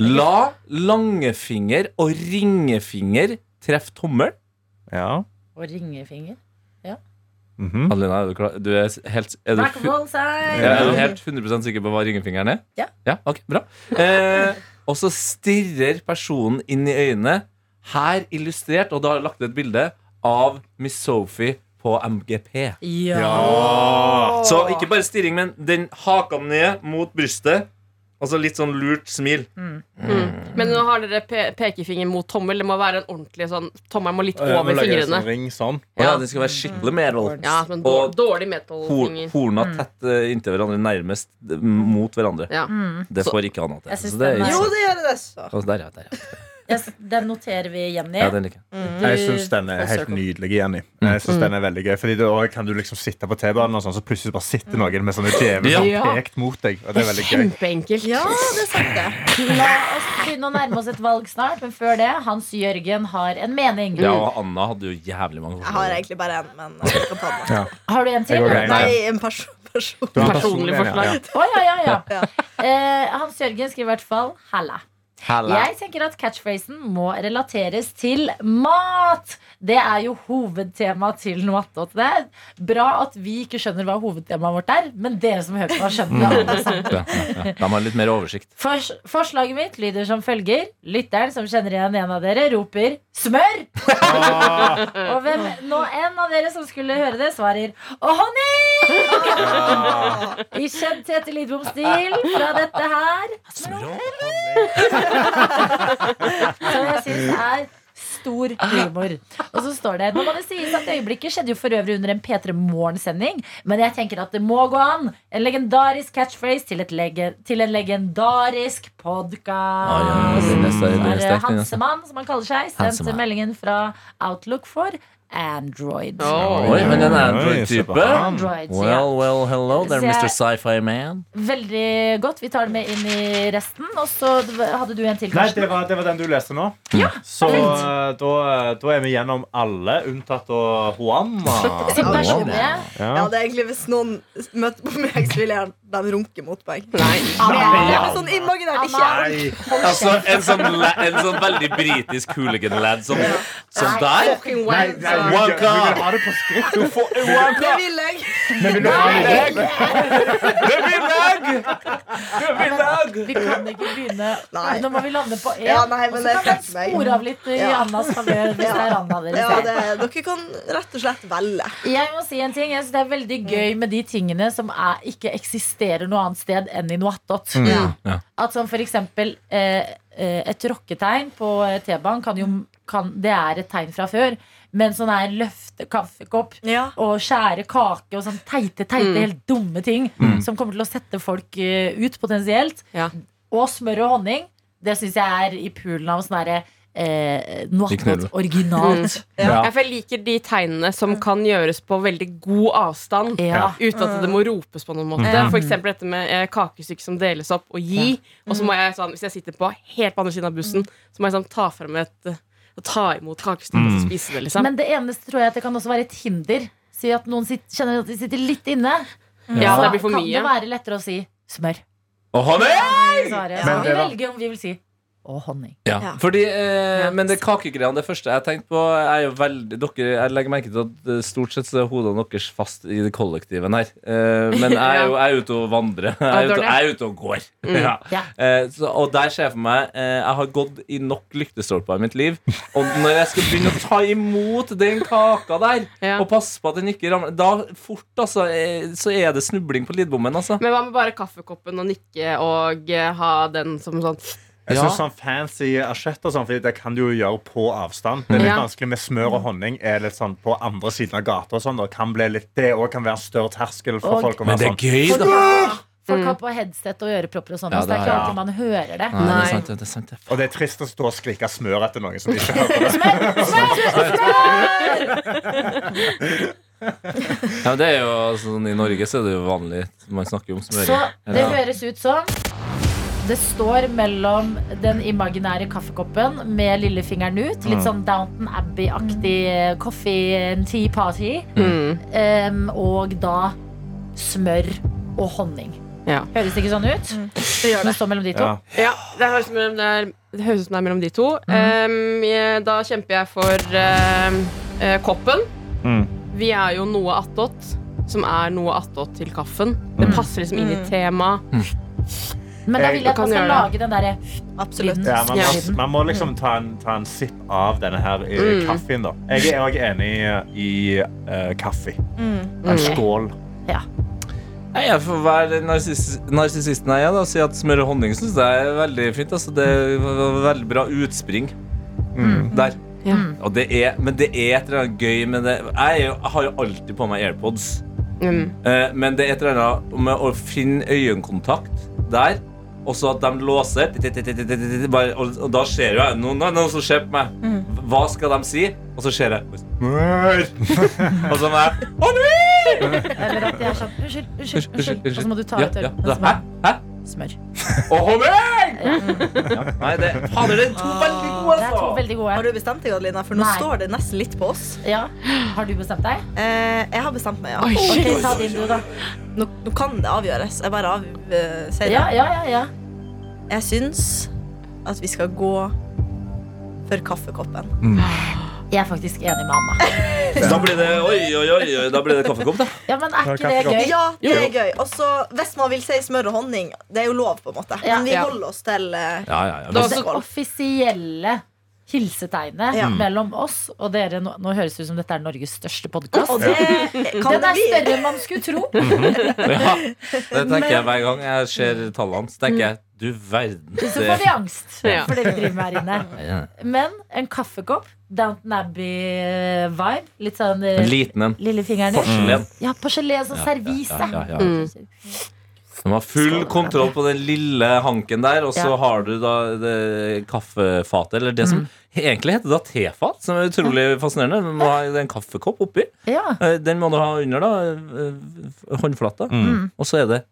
[SPEAKER 5] La langefinger og ringefinger treffe tommelen.
[SPEAKER 6] Ja.
[SPEAKER 2] Og ringefinger.
[SPEAKER 6] Mhm.
[SPEAKER 5] Adelina, er du klar? Du er s- helt er du,
[SPEAKER 2] Back of
[SPEAKER 5] fu-
[SPEAKER 2] all sides.
[SPEAKER 5] ja, er du helt 100 sikker på hva ringefingeren er?
[SPEAKER 2] Ja.
[SPEAKER 5] ja ok, bra. Eh, og så stirrer personen inn i øynene. Her illustrert, og da har jeg lagt ut et bilde av Miss Sophie på MGP.
[SPEAKER 6] Ja.
[SPEAKER 5] Så ikke bare stirring, men den haka ned mot brystet. Altså litt sånn lurt smil.
[SPEAKER 4] Mm. Men nå har dere pe pekefinger mot tommel. Det må være en ordentlig sånn Tommelen må litt
[SPEAKER 6] Eh, nå
[SPEAKER 4] over
[SPEAKER 6] lager jeg en
[SPEAKER 4] fingrene.
[SPEAKER 6] sånn ring sånn.
[SPEAKER 5] Å ja,
[SPEAKER 4] Ja.
[SPEAKER 5] det skal være skikkelig medhold.
[SPEAKER 4] Ja, men dår-
[SPEAKER 5] Og
[SPEAKER 4] Dårlig
[SPEAKER 5] hor
[SPEAKER 4] metal-finger.
[SPEAKER 5] horna tett eh, inntil hverandre, nærmest eh, mot hverandre.
[SPEAKER 4] Ja.
[SPEAKER 5] Det får ikke han til.
[SPEAKER 2] Jeg syns
[SPEAKER 5] Så det
[SPEAKER 2] den
[SPEAKER 5] er
[SPEAKER 2] er-
[SPEAKER 5] ikke
[SPEAKER 3] Jo,
[SPEAKER 5] sant.
[SPEAKER 3] det gjør det. Så.
[SPEAKER 5] Altså, der, ja, der, ja.
[SPEAKER 2] Yes, den noterer vi, Jenny.
[SPEAKER 5] ja, den liker jeg.
[SPEAKER 2] Du-
[SPEAKER 6] Jeg syns den er helt
[SPEAKER 2] circle.
[SPEAKER 6] nydelig, Jenny.
[SPEAKER 5] Mm.
[SPEAKER 6] Jeg synes den er veldig gøy Fordi da kan du liksom sitte på T-banen, og sånn, så plutselig bare sitter noen med sånne djevel
[SPEAKER 4] Ja.
[SPEAKER 6] pekt mot deg. Og det er veldig gøy.
[SPEAKER 4] Kjempeenkelt.
[SPEAKER 3] Ja, det er sant, det.
[SPEAKER 2] La oss begynne å nærme oss et valg snart, men før det, Hans Jørgen har en mening.
[SPEAKER 5] Ja, og Anna hadde jo jævlig mange
[SPEAKER 3] Jeg har egentlig bare én, men jeg kan ta den.
[SPEAKER 6] Ja.
[SPEAKER 2] Har du en til?
[SPEAKER 6] Jeg går
[SPEAKER 2] Å
[SPEAKER 6] greit.
[SPEAKER 3] Nei, en person. person.
[SPEAKER 6] Du har en
[SPEAKER 4] Personlig
[SPEAKER 6] personlig en, ja.
[SPEAKER 5] <laughs>
[SPEAKER 4] forslag.
[SPEAKER 2] ja, ja, ja.
[SPEAKER 3] Ja.
[SPEAKER 2] Eh, Hans Jørgen skriver i hvert fall 'halla'.
[SPEAKER 5] Hella.
[SPEAKER 2] Jeg tenker at catchphrasen må relateres til mat. Det er jo hovedtemaet til noe attåt. Det er bra at vi ikke skjønner hva hovedtemaet vårt er, men dere som hører på, har skjønt det. alle
[SPEAKER 5] <laughs>
[SPEAKER 2] sammen.
[SPEAKER 5] <laughs> Ja, ja, ja. Da må jeg ha litt mer oversikt.
[SPEAKER 2] Fors forslaget mitt lyder som følger. Lytteren som kjenner igjen en av dere, roper 'smør'! <laughs> Og hvem nå enn av dere som skulle høre det, svarer 'å, honning'! I kjent Tete Lidbom-stil fra dette her. Som jeg syns er stor humor. Og så står det Nå må det sies at øyeblikket skjedde jo for øvrig under en P3 Morgen-sending, men jeg tenker at det må gå an. En legendarisk catchphrase til, et lege, til en legendarisk
[SPEAKER 5] Oi, oi, oi,
[SPEAKER 2] podkast.
[SPEAKER 5] den er sterk, den
[SPEAKER 2] er det
[SPEAKER 5] er sterk, den er sterk.
[SPEAKER 2] Hansemann, som han kaller seg, sendte
[SPEAKER 5] Hansemann.
[SPEAKER 2] meldingen fra Outlook for Android.
[SPEAKER 4] Åh.
[SPEAKER 5] Oi, men den er
[SPEAKER 6] Oi,
[SPEAKER 5] en
[SPEAKER 6] se på
[SPEAKER 5] type.
[SPEAKER 6] han.
[SPEAKER 2] Android, sier jeg.
[SPEAKER 5] Well, well, hello there,
[SPEAKER 2] Så jeg-
[SPEAKER 5] Mr. Sci-Fi Man.
[SPEAKER 2] Veldig godt. Vi tar det med inn i resten. Og så hadde du en til,
[SPEAKER 6] Nei,
[SPEAKER 2] Karsten.
[SPEAKER 6] det var, det var den du leste nå. så eh, da, da er vi gjennom alle, unntatt eh, og Juana.
[SPEAKER 2] Sitt personlige.
[SPEAKER 5] Wow.
[SPEAKER 3] Ja, det er egentlig Hvis noen møter på meg, så vil jeg de runke mot meg. Det er sånn imaginært ikke jeg.
[SPEAKER 6] Nei.
[SPEAKER 5] Altså, en sånn, la- en sånn veldig britisk hooligan-lad som, som der.
[SPEAKER 4] Fucking
[SPEAKER 6] Nei,
[SPEAKER 4] wank, så-
[SPEAKER 6] nei, vi vil- vi
[SPEAKER 5] Waka.
[SPEAKER 6] vil ha det på skrift. Du får
[SPEAKER 3] Det vil jeg.
[SPEAKER 5] Det blir lag! Det blir lag!
[SPEAKER 2] Vi kan ikke begynne
[SPEAKER 3] Nei.
[SPEAKER 2] Nå må vi lande på én,
[SPEAKER 3] Ja, nei,
[SPEAKER 2] og
[SPEAKER 3] men
[SPEAKER 2] så
[SPEAKER 3] det
[SPEAKER 2] kan man
[SPEAKER 3] tenker jeg.
[SPEAKER 2] spore av litt i
[SPEAKER 3] Ja.
[SPEAKER 2] Annas favør hvis det er Anna dere
[SPEAKER 3] Ja,
[SPEAKER 2] ser.
[SPEAKER 3] det, dere kan rett og slett velge.
[SPEAKER 2] Jeg må si en ting, jeg synes det er veldig
[SPEAKER 3] Mm.
[SPEAKER 2] gøy med de tingene som er, ikke eksisterer noe annet sted enn i noe attåt.
[SPEAKER 3] Mm.
[SPEAKER 5] Ja.
[SPEAKER 2] At som for eksempel eh, eh, et rocketegn på eh, T-banen kan jo kan, Det er et tegn fra før, men sånn er løfte kaffekopp
[SPEAKER 3] Ja.
[SPEAKER 2] og skjære kake og sånn teite, teite,
[SPEAKER 4] Mm.
[SPEAKER 2] helt dumme ting som kommer til å sette folk eh, ut potensielt.
[SPEAKER 4] Ja.
[SPEAKER 2] Og smør og honning, det syns jeg er i poolen av sånn derre eh, noe
[SPEAKER 5] De knuller.
[SPEAKER 2] attåt originalt.
[SPEAKER 4] Mm.
[SPEAKER 5] Ja.
[SPEAKER 4] Jeg for jeg liker de tegnene som kan gjøres på veldig god avstand.
[SPEAKER 2] Ja.
[SPEAKER 4] Uten at det må ropes på noen måte. For eksempel dette med eh, kakestykke som deles opp og gi. Og så må jeg sånn, hvis jeg sitter på helt på andre siden av bussen, så må jeg sånn ta frem et eh, og ta imot kakestykket
[SPEAKER 6] Mm.
[SPEAKER 4] og så spise det, liksom.
[SPEAKER 2] Men det eneste tror jeg at det kan også være et hinder. Si at noen sitt- kjenner at de sitter litt inne.
[SPEAKER 4] ja,
[SPEAKER 2] Så
[SPEAKER 4] det blir for
[SPEAKER 2] kan det
[SPEAKER 4] mye.
[SPEAKER 2] være lettere å si smør.
[SPEAKER 5] Og han er
[SPEAKER 2] i svaret. Så
[SPEAKER 6] Men
[SPEAKER 2] vi
[SPEAKER 6] det da-
[SPEAKER 2] velger om vi vil si og honning.
[SPEAKER 5] Ja, fordi, eh, men det kakegreiene, det første jeg tenkte på er jo veldig, dere, Jeg legger merke til at eh, stort sett så er hodene deres fast i det kollektiven her. Eh, <laughs> men jeg er jo jeg er ute og vandrer. Jeg er ute, jeg er ute og går. Ja.
[SPEAKER 2] Ja.
[SPEAKER 5] Eh, så, og der ser jeg for meg eh, Jeg har gått i nok lyktestolper i mitt liv. Og når jeg skal begynne å ta imot den kaka der,
[SPEAKER 4] Ja.
[SPEAKER 5] og passe på at den ikke ramler Da fort, altså, eh, så er det snubling på lidbommen, altså.
[SPEAKER 4] Men hva med bare kaffekoppen og nikke og eh, ha den som sånn
[SPEAKER 6] Jeg
[SPEAKER 5] Ja.
[SPEAKER 6] synes sånn fancy asjett og sånn, Fordi det kan du jo gjøre på avstand. Det er litt
[SPEAKER 4] Ja.
[SPEAKER 6] vanskelig med smør og honning er litt sånn på andre siden av gata. og sånn da kan bli litt, Det også kan være en større terskel for
[SPEAKER 2] Og-
[SPEAKER 6] folk å
[SPEAKER 5] Men det
[SPEAKER 6] være sånn.
[SPEAKER 5] er gøy,
[SPEAKER 2] Folk,
[SPEAKER 5] da.
[SPEAKER 2] folk har på headset og ørepropper og sånn,
[SPEAKER 5] Ja,
[SPEAKER 2] så det er ikke
[SPEAKER 5] det har jeg.
[SPEAKER 2] alltid man hører det.
[SPEAKER 5] Nei, det
[SPEAKER 4] Nei.
[SPEAKER 5] er sant, det, det er sant. det.
[SPEAKER 6] Og det er trist å stå og skrike smør etter noen som ikke hører på det.
[SPEAKER 5] Ja, men det er jo sånn I Norge så er det jo vanlig. Man snakker jo om smøring.
[SPEAKER 2] Så det
[SPEAKER 5] Ja.
[SPEAKER 2] høres ut som det står mellom den imaginære kaffekoppen med lillefingeren ut, litt sånn Downton Abbey-aktig eh, coffee and tea party,
[SPEAKER 4] hmm.
[SPEAKER 2] em, og da smør og honning.
[SPEAKER 4] Ja.
[SPEAKER 2] Høres det ikke sånn ut?
[SPEAKER 3] Det
[SPEAKER 2] Det
[SPEAKER 3] gjør det.
[SPEAKER 2] står mellom de to.
[SPEAKER 6] Ja.
[SPEAKER 4] Ja, det høres ut som det er, det høres ut som det er mellom de to. Ehm, jeg, da kjemper jeg for ehm, eh, koppen.
[SPEAKER 6] Mm.
[SPEAKER 4] Vi er jo noe attåt, som er noe attåt til kaffen. Det passer liksom inn i temaet.
[SPEAKER 2] Men da
[SPEAKER 6] Jeg
[SPEAKER 2] vil jeg at
[SPEAKER 4] kan
[SPEAKER 2] man skal
[SPEAKER 4] gjøre
[SPEAKER 2] lage den derre
[SPEAKER 3] Absolutt.
[SPEAKER 2] Mm.
[SPEAKER 6] Ja, man,
[SPEAKER 4] Ja.
[SPEAKER 6] må, man må liksom ta en, ta en sipp av denne her i kaffen. da Jeg er også enig i eh, kaffe. En
[SPEAKER 5] Mm.
[SPEAKER 6] skål.
[SPEAKER 5] Nei, Jeg får være den narsis- narsissisten jeg er da, og si at smør og honning syns jeg er veldig fint. Altså, det var veldig bra utspring
[SPEAKER 2] Mm.
[SPEAKER 5] Mm. der.
[SPEAKER 4] Ja.
[SPEAKER 5] Og det er, men det er et eller annet gøy med det. Jeg, er jo, jeg har jo alltid på meg AirPods,
[SPEAKER 4] Mm.
[SPEAKER 5] Eh, men det er et eller annet med å finne øyekontakt der. Og så at de låser bare, og, og da ser jo jeg Nå nå er det noen som ser på meg.
[SPEAKER 2] Mm.
[SPEAKER 5] Hva skal de si? Og så ser jeg
[SPEAKER 6] Smør!
[SPEAKER 5] Og så må jeg
[SPEAKER 2] Eller at jeg er sånn Unnskyld, unnskyld, unnskyld. Og så må du ta
[SPEAKER 5] Ja,
[SPEAKER 2] et
[SPEAKER 5] ja.
[SPEAKER 2] øl.
[SPEAKER 5] Da- Hæ? Hæ?
[SPEAKER 2] Smør.
[SPEAKER 5] Og honning! Nei, det Fader, det er to veldig gode,
[SPEAKER 2] Det er to
[SPEAKER 5] altså!
[SPEAKER 2] veldig gode.
[SPEAKER 3] Har du bestemt deg, Adelina? For nå
[SPEAKER 2] Nei.
[SPEAKER 3] står det nesten litt på oss.
[SPEAKER 2] Ja. Har du bestemt deg?
[SPEAKER 3] Eh, jeg har bestemt meg, ja.
[SPEAKER 2] Ok, ta din du, da.
[SPEAKER 3] Nå, nå kan det avgjøres. Jeg bare av, eh, sier det.
[SPEAKER 2] Ja, ja, ja. ja.
[SPEAKER 3] Jeg syns at vi skal gå for kaffekoppen.
[SPEAKER 2] Jeg er faktisk enig med Anna.
[SPEAKER 5] Da blir det oi, oi, oi, oi, da blir det kaffekopp, da.
[SPEAKER 2] Ja, men er ikke
[SPEAKER 6] Ja,
[SPEAKER 2] det
[SPEAKER 6] kaffekopp.
[SPEAKER 2] gøy?
[SPEAKER 3] Ja, det er gøy. Og så hvis man vil si smør og honning, det er jo lov, på en måte.
[SPEAKER 2] Ja,
[SPEAKER 3] Men vi
[SPEAKER 4] ja.
[SPEAKER 3] holder oss til eh,
[SPEAKER 5] Ja, ja, ja.
[SPEAKER 4] Da-
[SPEAKER 2] Det
[SPEAKER 3] Skål.
[SPEAKER 2] offisielle hilsetegnet
[SPEAKER 6] Mm.
[SPEAKER 3] Ja.
[SPEAKER 2] mellom oss og dere Nå, nå høres det ut som dette er Norges største podkast.
[SPEAKER 3] Og det kan
[SPEAKER 2] Den er
[SPEAKER 3] vi
[SPEAKER 2] større enn man skulle tro.
[SPEAKER 5] Ja, det tenker jeg hver gang jeg ser tallene hans. tenker jeg, du verden.
[SPEAKER 2] Så får vi
[SPEAKER 5] Det,
[SPEAKER 2] angst
[SPEAKER 4] Ja.
[SPEAKER 2] for det vi driver med her inne. Men en kaffekopp, Downton Abbey-vibe. Litt sånn eh,
[SPEAKER 5] en liten en.
[SPEAKER 2] lillefingeren ut.
[SPEAKER 5] Porselen.
[SPEAKER 2] Ja, porselen som servise.
[SPEAKER 5] Ja, ja, ja.
[SPEAKER 2] Mm.
[SPEAKER 5] De har full kontroll på den lille hanken der, og så
[SPEAKER 2] Ja. Mm.
[SPEAKER 5] har du da det kaffefatet, eller det som egentlig heter da tefat, som er utrolig fascinerende. Du må ha en kaffekopp oppi.
[SPEAKER 2] Ja.
[SPEAKER 5] Eh, Den må du ha under, da. eh, Håndflata. Og så er det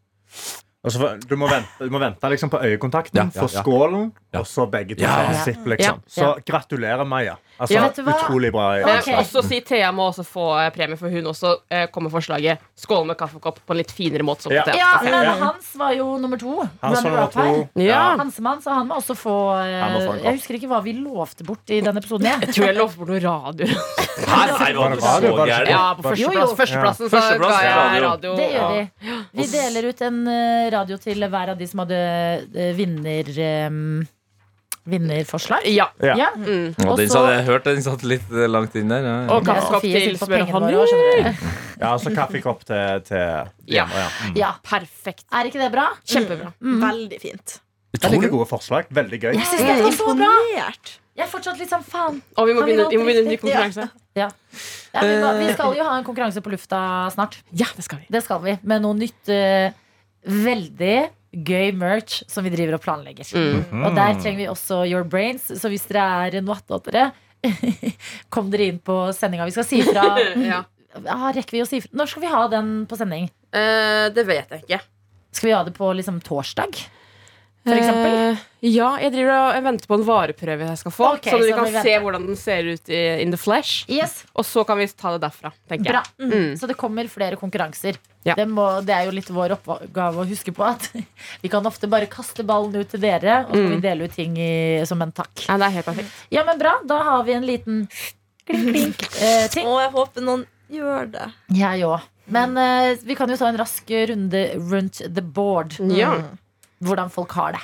[SPEAKER 6] Og så får- du må vente, du må vente liksom på øyekontakten,
[SPEAKER 5] Ja, ja,
[SPEAKER 6] få
[SPEAKER 5] ja.
[SPEAKER 6] skålen,
[SPEAKER 5] Ja.
[SPEAKER 6] og så begge to.
[SPEAKER 5] Ja.
[SPEAKER 6] tar en sipp, liksom.
[SPEAKER 2] Ja.
[SPEAKER 6] Så gratulerer, Maja. Altså,
[SPEAKER 4] Ja,
[SPEAKER 2] vet du hva?
[SPEAKER 6] utrolig bra.
[SPEAKER 4] Men
[SPEAKER 2] Ok.
[SPEAKER 4] også si Thea må også få eh, premie, for hun også eh, kom med forslaget 'skål med kaffekopp' på en litt finere måte. Sånn
[SPEAKER 6] Ja.
[SPEAKER 4] at Thea-
[SPEAKER 2] ja, men
[SPEAKER 6] Ja.
[SPEAKER 2] hans var jo nummer to.
[SPEAKER 6] Han som var
[SPEAKER 2] Runner-up her.
[SPEAKER 6] to.
[SPEAKER 4] Ja.
[SPEAKER 2] Hansemann, så han må også få eh,
[SPEAKER 6] Han må få en kopp.
[SPEAKER 2] Jeg husker ikke hva vi lovte bort i den episoden. Jeg.
[SPEAKER 4] Jeg tror jeg lovte bort noe radio.
[SPEAKER 5] Her er
[SPEAKER 6] Var
[SPEAKER 5] det
[SPEAKER 6] det
[SPEAKER 5] så
[SPEAKER 6] radio? Var det
[SPEAKER 5] gærent!
[SPEAKER 4] Ja, på
[SPEAKER 2] Jo,
[SPEAKER 4] førsteplass.
[SPEAKER 2] jo.
[SPEAKER 4] Førsteplassen så ga
[SPEAKER 5] Førsteplass,
[SPEAKER 4] jeg
[SPEAKER 5] radio.
[SPEAKER 4] radio.
[SPEAKER 2] Det gjør
[SPEAKER 4] Ja.
[SPEAKER 2] vi. Vi deler ut en eh, radio til hver av de som hadde eh, vinner... eh, Vinnerforslag.
[SPEAKER 4] Ja. Mm.
[SPEAKER 6] Ja.
[SPEAKER 2] Ja.
[SPEAKER 5] Og den
[SPEAKER 2] Også-
[SPEAKER 5] satt, jeg hørte den satt litt eh, langt inn der. Ja, ja.
[SPEAKER 4] Og kaffekopp
[SPEAKER 2] Sofie
[SPEAKER 4] til
[SPEAKER 2] sitter på
[SPEAKER 4] smør og
[SPEAKER 2] pengene våre,
[SPEAKER 4] honning.
[SPEAKER 2] skjønner du.
[SPEAKER 6] Ja, altså kaffekopp til, til
[SPEAKER 4] Ja.
[SPEAKER 6] Diana, ja. Mm.
[SPEAKER 2] Ja.
[SPEAKER 4] Perfekt.
[SPEAKER 2] Er ikke det bra?
[SPEAKER 4] Kjempebra.
[SPEAKER 3] Veldig fint.
[SPEAKER 6] Utrolig gode forslag. Veldig gøy.
[SPEAKER 2] Jeg synes Mm. det var så bra!
[SPEAKER 3] Imponert.
[SPEAKER 2] Jeg er fortsatt litt sånn faen.
[SPEAKER 4] Og vi må
[SPEAKER 2] Kan vi
[SPEAKER 4] begynne, vi må begynne en ny
[SPEAKER 2] alltid-
[SPEAKER 4] konkurranse.
[SPEAKER 2] Ja, vi, må, vi skal jo ha en konkurranse på lufta snart.
[SPEAKER 4] Ja, det skal vi.
[SPEAKER 2] Det skal vi. Med noe nytt eh, veldig gøy merch som vi driver og planlegger. Og der trenger vi også Your Brains. Så hvis dere er noatåtere, <laughs> kom dere inn på sendinga. Vi skal si fra.
[SPEAKER 4] <laughs> Ja.
[SPEAKER 2] Ja, Ah, rekker vi å si fra? Når skal vi ha den på sending?
[SPEAKER 4] Eh, det vet jeg ikke.
[SPEAKER 2] Skal vi ha det på liksom torsdag? For eksempel?
[SPEAKER 4] Eh, ja, jeg driver og jeg venter på en vareprøve jeg skal få.
[SPEAKER 2] Ok,
[SPEAKER 4] sånn at
[SPEAKER 2] så
[SPEAKER 4] vi
[SPEAKER 2] vi
[SPEAKER 4] kan se
[SPEAKER 2] venter.
[SPEAKER 4] hvordan den ser ut i, in the flesh.
[SPEAKER 2] Yes,
[SPEAKER 4] Og så kan vi ta det derfra. tenker
[SPEAKER 2] bra.
[SPEAKER 4] jeg Mm.
[SPEAKER 2] Så det kommer flere konkurranser.
[SPEAKER 4] Ja.
[SPEAKER 2] Det, må, det er jo litt vår oppgave å huske på at <laughs> vi kan ofte bare kaste ballen ut til dere, og så
[SPEAKER 5] Mm.
[SPEAKER 2] kan vi dele ut ting i, som en takk.
[SPEAKER 4] Nei, det er helt perfekt.
[SPEAKER 2] Ja, men bra. Da har vi en liten
[SPEAKER 5] <laughs>
[SPEAKER 2] eh, klink-klink-ting.
[SPEAKER 3] Og jeg håper noen gjør det.
[SPEAKER 2] jeg òg. Men eh, vi kan jo ta en rask runde rundt the board.
[SPEAKER 4] Mm. Ja.
[SPEAKER 2] Hvordan folk har det.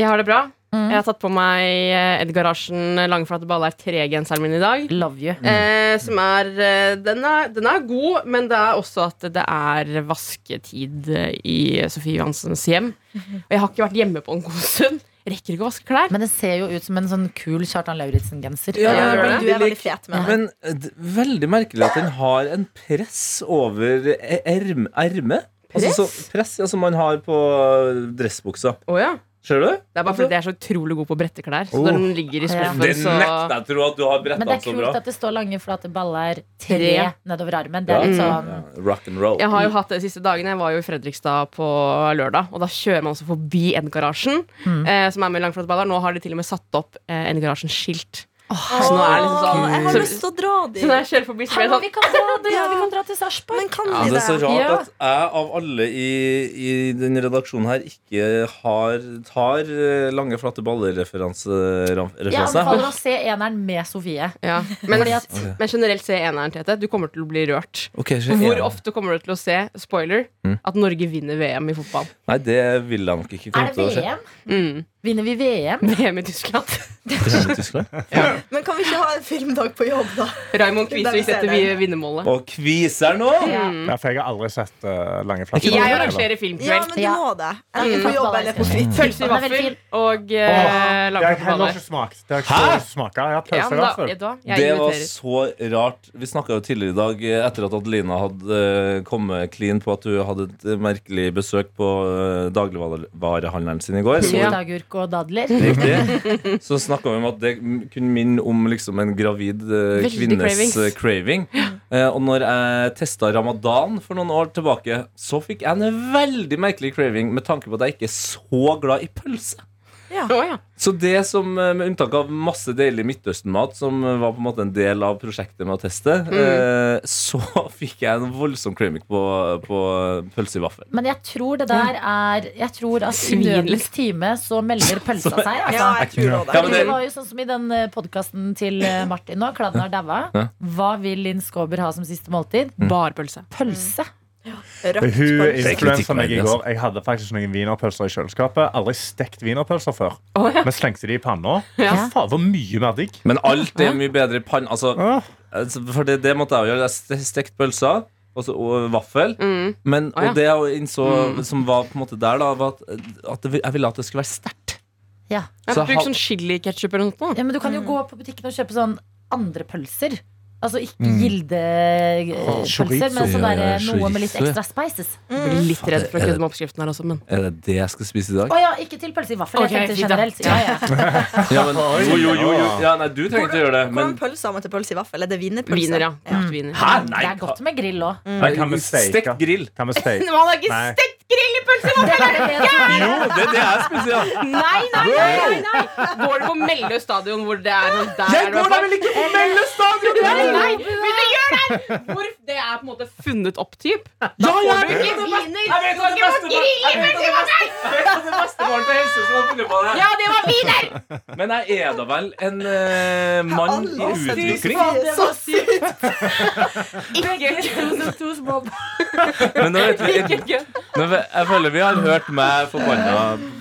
[SPEAKER 4] Jeg har det bra. Jeg har tatt på meg eh, Edgar Arsen eh, langflate baller 3-genseren min i dag.
[SPEAKER 2] Love you.
[SPEAKER 4] Eh, som er, eh, den er Den er god, men det er også at det er vasketid eh, i Sofie Johansens
[SPEAKER 2] <laughs>
[SPEAKER 4] hjem. Og jeg har ikke vært hjemme på en god stund. Jeg Rekker ikke å vaske klær.
[SPEAKER 2] Men det ser jo ut som en sånn kul Kjartan Lauritzen-genser.
[SPEAKER 5] Ja, det gjør det.
[SPEAKER 3] Men du er veldig fet med det.
[SPEAKER 5] Men eh, d- veldig merkelig at den har en press over e- erm- ermet. Altså, så, press ja, som man har på eh, dressbuksa.
[SPEAKER 4] Å ja.
[SPEAKER 5] Ser du?
[SPEAKER 4] Det er bare fordi jeg er så utrolig god på å brette klær. Så
[SPEAKER 6] Oh.
[SPEAKER 4] når den ligger i
[SPEAKER 2] Ja.
[SPEAKER 4] skuffen,
[SPEAKER 5] Det
[SPEAKER 4] så
[SPEAKER 5] nekter jeg å tro at du har
[SPEAKER 2] Men det
[SPEAKER 5] bretta
[SPEAKER 2] er
[SPEAKER 5] så
[SPEAKER 2] kult
[SPEAKER 5] bra.
[SPEAKER 2] at det står lange, flate baller tre
[SPEAKER 4] Tre.
[SPEAKER 2] nedover armen. Det
[SPEAKER 5] Ja, Mm.
[SPEAKER 2] er litt
[SPEAKER 5] ja,
[SPEAKER 2] sånn
[SPEAKER 5] rock and roll.
[SPEAKER 4] Jeg har jo hatt det de siste dagene. Jeg var jo i Fredrikstad på lørdag, og da kjører man også forbi Endgarasjen,
[SPEAKER 2] Mm.
[SPEAKER 4] eh, som er med langflatballer. Nå har de til og med satt opp eh, Endgarasjen-skilt. så nå er det liksom
[SPEAKER 3] Åh, jeg har
[SPEAKER 4] sånn
[SPEAKER 3] lyst til å dra
[SPEAKER 4] så når
[SPEAKER 3] dit.
[SPEAKER 4] jeg kjører forbi, så blir sånn-
[SPEAKER 2] Hallo,
[SPEAKER 4] jeg
[SPEAKER 2] vi kan dra, det,
[SPEAKER 3] Ja.
[SPEAKER 2] vi kan dra til Sarpsborg.
[SPEAKER 3] Men kan
[SPEAKER 5] Ja,
[SPEAKER 3] vi
[SPEAKER 5] det er så
[SPEAKER 3] det?
[SPEAKER 5] rart
[SPEAKER 2] Ja.
[SPEAKER 5] at jeg av alle i, i den redaksjonen her ikke har, tar eh, lange, flate
[SPEAKER 2] Jeg
[SPEAKER 5] baller-referanse.
[SPEAKER 2] anbefaler å se eneren med Sofie.
[SPEAKER 4] sånn ja. men,
[SPEAKER 2] Fordi at-
[SPEAKER 4] men generelt se eneren, Tete. Du kommer til å bli rørt.
[SPEAKER 5] Ok, så
[SPEAKER 4] Hvor
[SPEAKER 5] jeg-
[SPEAKER 4] ofte kommer du til å se, spoiler, at Norge vinner VM i fotball?
[SPEAKER 5] Nei, det vil jeg nok ikke
[SPEAKER 2] Er
[SPEAKER 5] komme
[SPEAKER 2] det
[SPEAKER 5] til å skje.
[SPEAKER 2] VM?
[SPEAKER 4] Mm.
[SPEAKER 2] Vinner vi VM?
[SPEAKER 4] VM i Tyskland.
[SPEAKER 3] Men kan vi ikke ha en filmdag på jobb, da?
[SPEAKER 4] <laughs> Raymond Kvisvik
[SPEAKER 3] Den ser
[SPEAKER 4] setter vi
[SPEAKER 3] den.
[SPEAKER 4] vinnermålet.
[SPEAKER 5] <laughs> Og kviser nå!
[SPEAKER 6] Ja, for jeg har aldri sett eh, lange flasker.
[SPEAKER 4] Jeg eh, arrangerer
[SPEAKER 3] Ja,
[SPEAKER 4] filmkveld.
[SPEAKER 3] men du
[SPEAKER 2] Ja.
[SPEAKER 3] må det. Enten på jobb eller på fritid.
[SPEAKER 4] Pølse i
[SPEAKER 2] Den er veldig
[SPEAKER 4] vaffel
[SPEAKER 2] fin.
[SPEAKER 4] og
[SPEAKER 6] Åh,
[SPEAKER 4] eh,
[SPEAKER 6] det har jeg heller
[SPEAKER 4] langflatballer.
[SPEAKER 6] ikke smakt. Det har jeg
[SPEAKER 5] Hæ?
[SPEAKER 6] ikke smakt. Jeg har
[SPEAKER 4] Ja,
[SPEAKER 6] pølse i
[SPEAKER 4] men
[SPEAKER 6] hvert
[SPEAKER 4] da,
[SPEAKER 6] fall.
[SPEAKER 4] da, jeg
[SPEAKER 5] Det var
[SPEAKER 4] inviterer.
[SPEAKER 5] så rart. Vi snakka jo tidligere i dag, eh, etter at Adelina hadde eh, kommet clean på at hun hadde et eh, merkelig besøk på eh, dagligvarehandelen sin i går. Så
[SPEAKER 4] Ja.
[SPEAKER 2] Sylteagurk og dadler.
[SPEAKER 4] <laughs>
[SPEAKER 5] Riktig. Så snakka vi om at det m- kunne minne om liksom en gravid eh,
[SPEAKER 4] Veldig
[SPEAKER 5] kvinnes
[SPEAKER 4] cravings.
[SPEAKER 5] eh, craving. Eh, og når jeg testa ramadan for noen år tilbake, så fikk jeg en veldig merkelig craving med tanke på at jeg ikke er så glad i pølse.
[SPEAKER 4] Å, ja.
[SPEAKER 5] Så det som, eh, med unntak av masse deilig Midtøsten-mat, som eh, var på en måte en del av prosjektet med å teste,
[SPEAKER 4] Mm.
[SPEAKER 5] eh, så <laughs> fikk jeg en voldsom craving på, på pølse i vaffel.
[SPEAKER 2] Men jeg tror det der er Jeg tror at i
[SPEAKER 4] Svin,
[SPEAKER 2] nødens time så melder
[SPEAKER 5] <laughs>
[SPEAKER 2] pølsa seg. Altså.
[SPEAKER 3] Ja, jeg tror også
[SPEAKER 5] Ja,
[SPEAKER 3] det.
[SPEAKER 5] men
[SPEAKER 2] det...
[SPEAKER 5] det-
[SPEAKER 2] var jo sånn som i den podkasten til eh, Martin nå. Kladden har daua.
[SPEAKER 5] Ja. Mm.
[SPEAKER 2] Hva vil Linn Skåber ha som siste måltid?
[SPEAKER 4] Barpølse.
[SPEAKER 2] Pølse.
[SPEAKER 3] Rødt
[SPEAKER 6] Hun
[SPEAKER 3] pølse.
[SPEAKER 5] er ikke-
[SPEAKER 6] influensa meg i
[SPEAKER 5] kritikkverdig,
[SPEAKER 6] går. Jeg hadde faktisk noen wienerpølser i kjøleskapet. Aldri stekt wienerpølser før.
[SPEAKER 4] Å, ja.
[SPEAKER 6] Men slengte de i panna.
[SPEAKER 4] Ja.
[SPEAKER 6] Fy faen, hvor mye mer digg.
[SPEAKER 5] Men alt er mye bedre i pann. Altså,
[SPEAKER 6] Åh.
[SPEAKER 5] altså, for det, det måtte jeg jo gjøre. Jeg ste- Stekt pølser og, så, og vaffel.
[SPEAKER 4] Mm.
[SPEAKER 5] Men,
[SPEAKER 4] Ah, ja. Mm.
[SPEAKER 5] Og det jeg innså som var på en måte der, da, var at, eh, at det- jeg ville at det skulle være sterkt.
[SPEAKER 2] Ja.
[SPEAKER 4] Ja,
[SPEAKER 5] Så
[SPEAKER 4] Bruk
[SPEAKER 5] hal-
[SPEAKER 4] sånn chiliketchup eller noe.
[SPEAKER 2] ja, Men du kan jo gå på butikken og kjøpe sånn andre pølser. Altså ikke gildepølser,
[SPEAKER 6] Åh,
[SPEAKER 2] men
[SPEAKER 5] Mm. Ah, chorizo.
[SPEAKER 2] sånn
[SPEAKER 5] Ja,
[SPEAKER 2] derre
[SPEAKER 5] ja,
[SPEAKER 2] noe med litt
[SPEAKER 5] chorizo, ja.
[SPEAKER 2] ekstra spices.
[SPEAKER 4] Jeg blir litt redd for å kødde med oppskriften her også, men
[SPEAKER 5] Er det det jeg skal spise i dag?
[SPEAKER 2] Å ja, ikke til pølse i vaffel.
[SPEAKER 4] Ok,
[SPEAKER 2] Jeg tenkte
[SPEAKER 4] fint da.
[SPEAKER 2] generelt. Ja, ja.
[SPEAKER 4] <laughs>
[SPEAKER 5] Ja, men, jo, jo, jo, jo. Ja, nei, du trenger ikke å gjøre det.
[SPEAKER 3] Hvordan
[SPEAKER 5] Men
[SPEAKER 3] pølse har man til pølse i vaffel? Er det wienerpølse?
[SPEAKER 4] Wiener, ja. Brukt Wiener. <laughs>
[SPEAKER 5] Hæ? Nei!
[SPEAKER 2] Det er godt med grill òg.
[SPEAKER 4] Mm.
[SPEAKER 6] Men kan vi steike?
[SPEAKER 5] Stekt grill.
[SPEAKER 6] Kan <laughs> vi steike?
[SPEAKER 4] Man har ikke
[SPEAKER 6] Nei.
[SPEAKER 4] stekt grill i pølse!
[SPEAKER 2] Det er det jeg tror.
[SPEAKER 5] Jo, det, det er spesielt.
[SPEAKER 4] Nei, nei, nei, nei, nei! Går du på Mellø stadion hvor det er sånn der er det i hvert fall-
[SPEAKER 5] vel ikke på Melle stadion!
[SPEAKER 4] Nei, nei, men det gjør det! her! Hvor det er på en måte funnet opp, typ. Da får du ikke wiener! Du kan ikke få grill i pølse i vaffel! Ja, det var wiener!
[SPEAKER 5] Men jeg er da vel en eh, mann i
[SPEAKER 3] Alle sier
[SPEAKER 5] utvikling.
[SPEAKER 3] det er så sykt.
[SPEAKER 2] <laughs>
[SPEAKER 4] Ikke to <laughs> små
[SPEAKER 5] Men nå vet vi, jeg,
[SPEAKER 4] Ikke
[SPEAKER 5] nå vet- jeg føler vi har hørt meg forbanna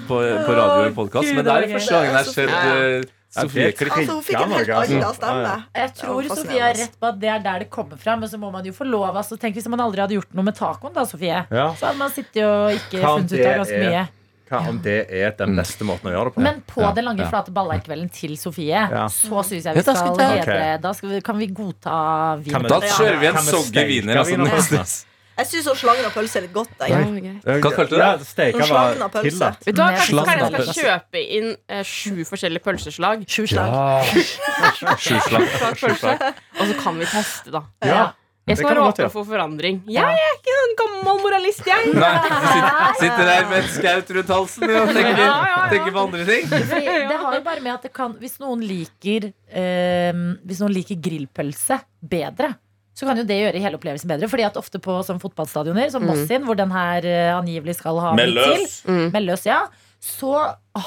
[SPEAKER 5] på, på radio og podkast, men det er første gangen jeg har sett eh, Sofie klikke.
[SPEAKER 3] Altså, hun fikk en helt
[SPEAKER 6] Altså.
[SPEAKER 3] annen stemme.
[SPEAKER 2] Jeg tror
[SPEAKER 3] Det
[SPEAKER 2] Sofie
[SPEAKER 3] var
[SPEAKER 2] har
[SPEAKER 3] fascinerende.
[SPEAKER 2] rett på at det er der det kommer fra. Men så må man jo få lov. Altså, tenk hvis man aldri hadde gjort noe med tacoen, da, Sofie.
[SPEAKER 6] Ja.
[SPEAKER 2] Så hadde man sittet og ikke
[SPEAKER 6] Kan
[SPEAKER 2] funnet ut
[SPEAKER 6] det
[SPEAKER 2] av ganske
[SPEAKER 6] er-
[SPEAKER 2] mye.
[SPEAKER 6] Hva om det er
[SPEAKER 5] Mm.
[SPEAKER 6] den beste måten å gjøre det på?
[SPEAKER 2] Men på
[SPEAKER 5] Ja,
[SPEAKER 2] den lange,
[SPEAKER 5] ja.
[SPEAKER 2] flate ballerkvelden til Sofie, så syns jeg
[SPEAKER 5] Ja,
[SPEAKER 2] vi skal
[SPEAKER 5] da skal
[SPEAKER 2] hedre
[SPEAKER 5] vi
[SPEAKER 6] ta-
[SPEAKER 2] Da skal vi, kan vi godta
[SPEAKER 6] Kan
[SPEAKER 2] vin.
[SPEAKER 6] vi-
[SPEAKER 5] Da kjører vi en
[SPEAKER 6] Kan vi
[SPEAKER 5] soggy
[SPEAKER 6] steike
[SPEAKER 5] wiener. Altså,
[SPEAKER 6] wienerpølse?
[SPEAKER 5] nesten.
[SPEAKER 3] Jeg syns slangen av pølse er litt godt. Jeg.
[SPEAKER 5] Hva kalte du det?
[SPEAKER 6] Ja, steike var
[SPEAKER 3] Slagna pølse.
[SPEAKER 6] tillatt.
[SPEAKER 4] Vet du hva, kanskje
[SPEAKER 5] Slang av
[SPEAKER 4] Karin skal kjøpe inn eh, sju forskjellige pølseslag.
[SPEAKER 2] Sju slag.
[SPEAKER 5] Sjuslag.
[SPEAKER 4] Slag pølse. Og så kan vi teste, da.
[SPEAKER 6] Ja.
[SPEAKER 4] Jeg
[SPEAKER 6] Det
[SPEAKER 4] skal
[SPEAKER 6] kan
[SPEAKER 4] være
[SPEAKER 6] vi godt
[SPEAKER 4] åpen
[SPEAKER 6] gjøre.
[SPEAKER 4] for forandring. Jeg er ikke en gammel moralist, jeg.
[SPEAKER 5] Nei, du sitter, sitter der med et skaut rundt halsen og tenker,
[SPEAKER 4] Ja, ja, ja.
[SPEAKER 5] tenker på andre ting.
[SPEAKER 2] Fordi det har jo bare med at det kan Hvis noen liker eh, Hvis noen liker grillpølse bedre så kan jo det gjøre hele opplevelsen bedre. Fordi at ofte på sånn fotballstadioner, som Moss sin, hvor den her eh, angivelig skal ha
[SPEAKER 5] Med
[SPEAKER 2] blitt til,
[SPEAKER 5] løs.
[SPEAKER 4] Mm.
[SPEAKER 2] med løs, ja, så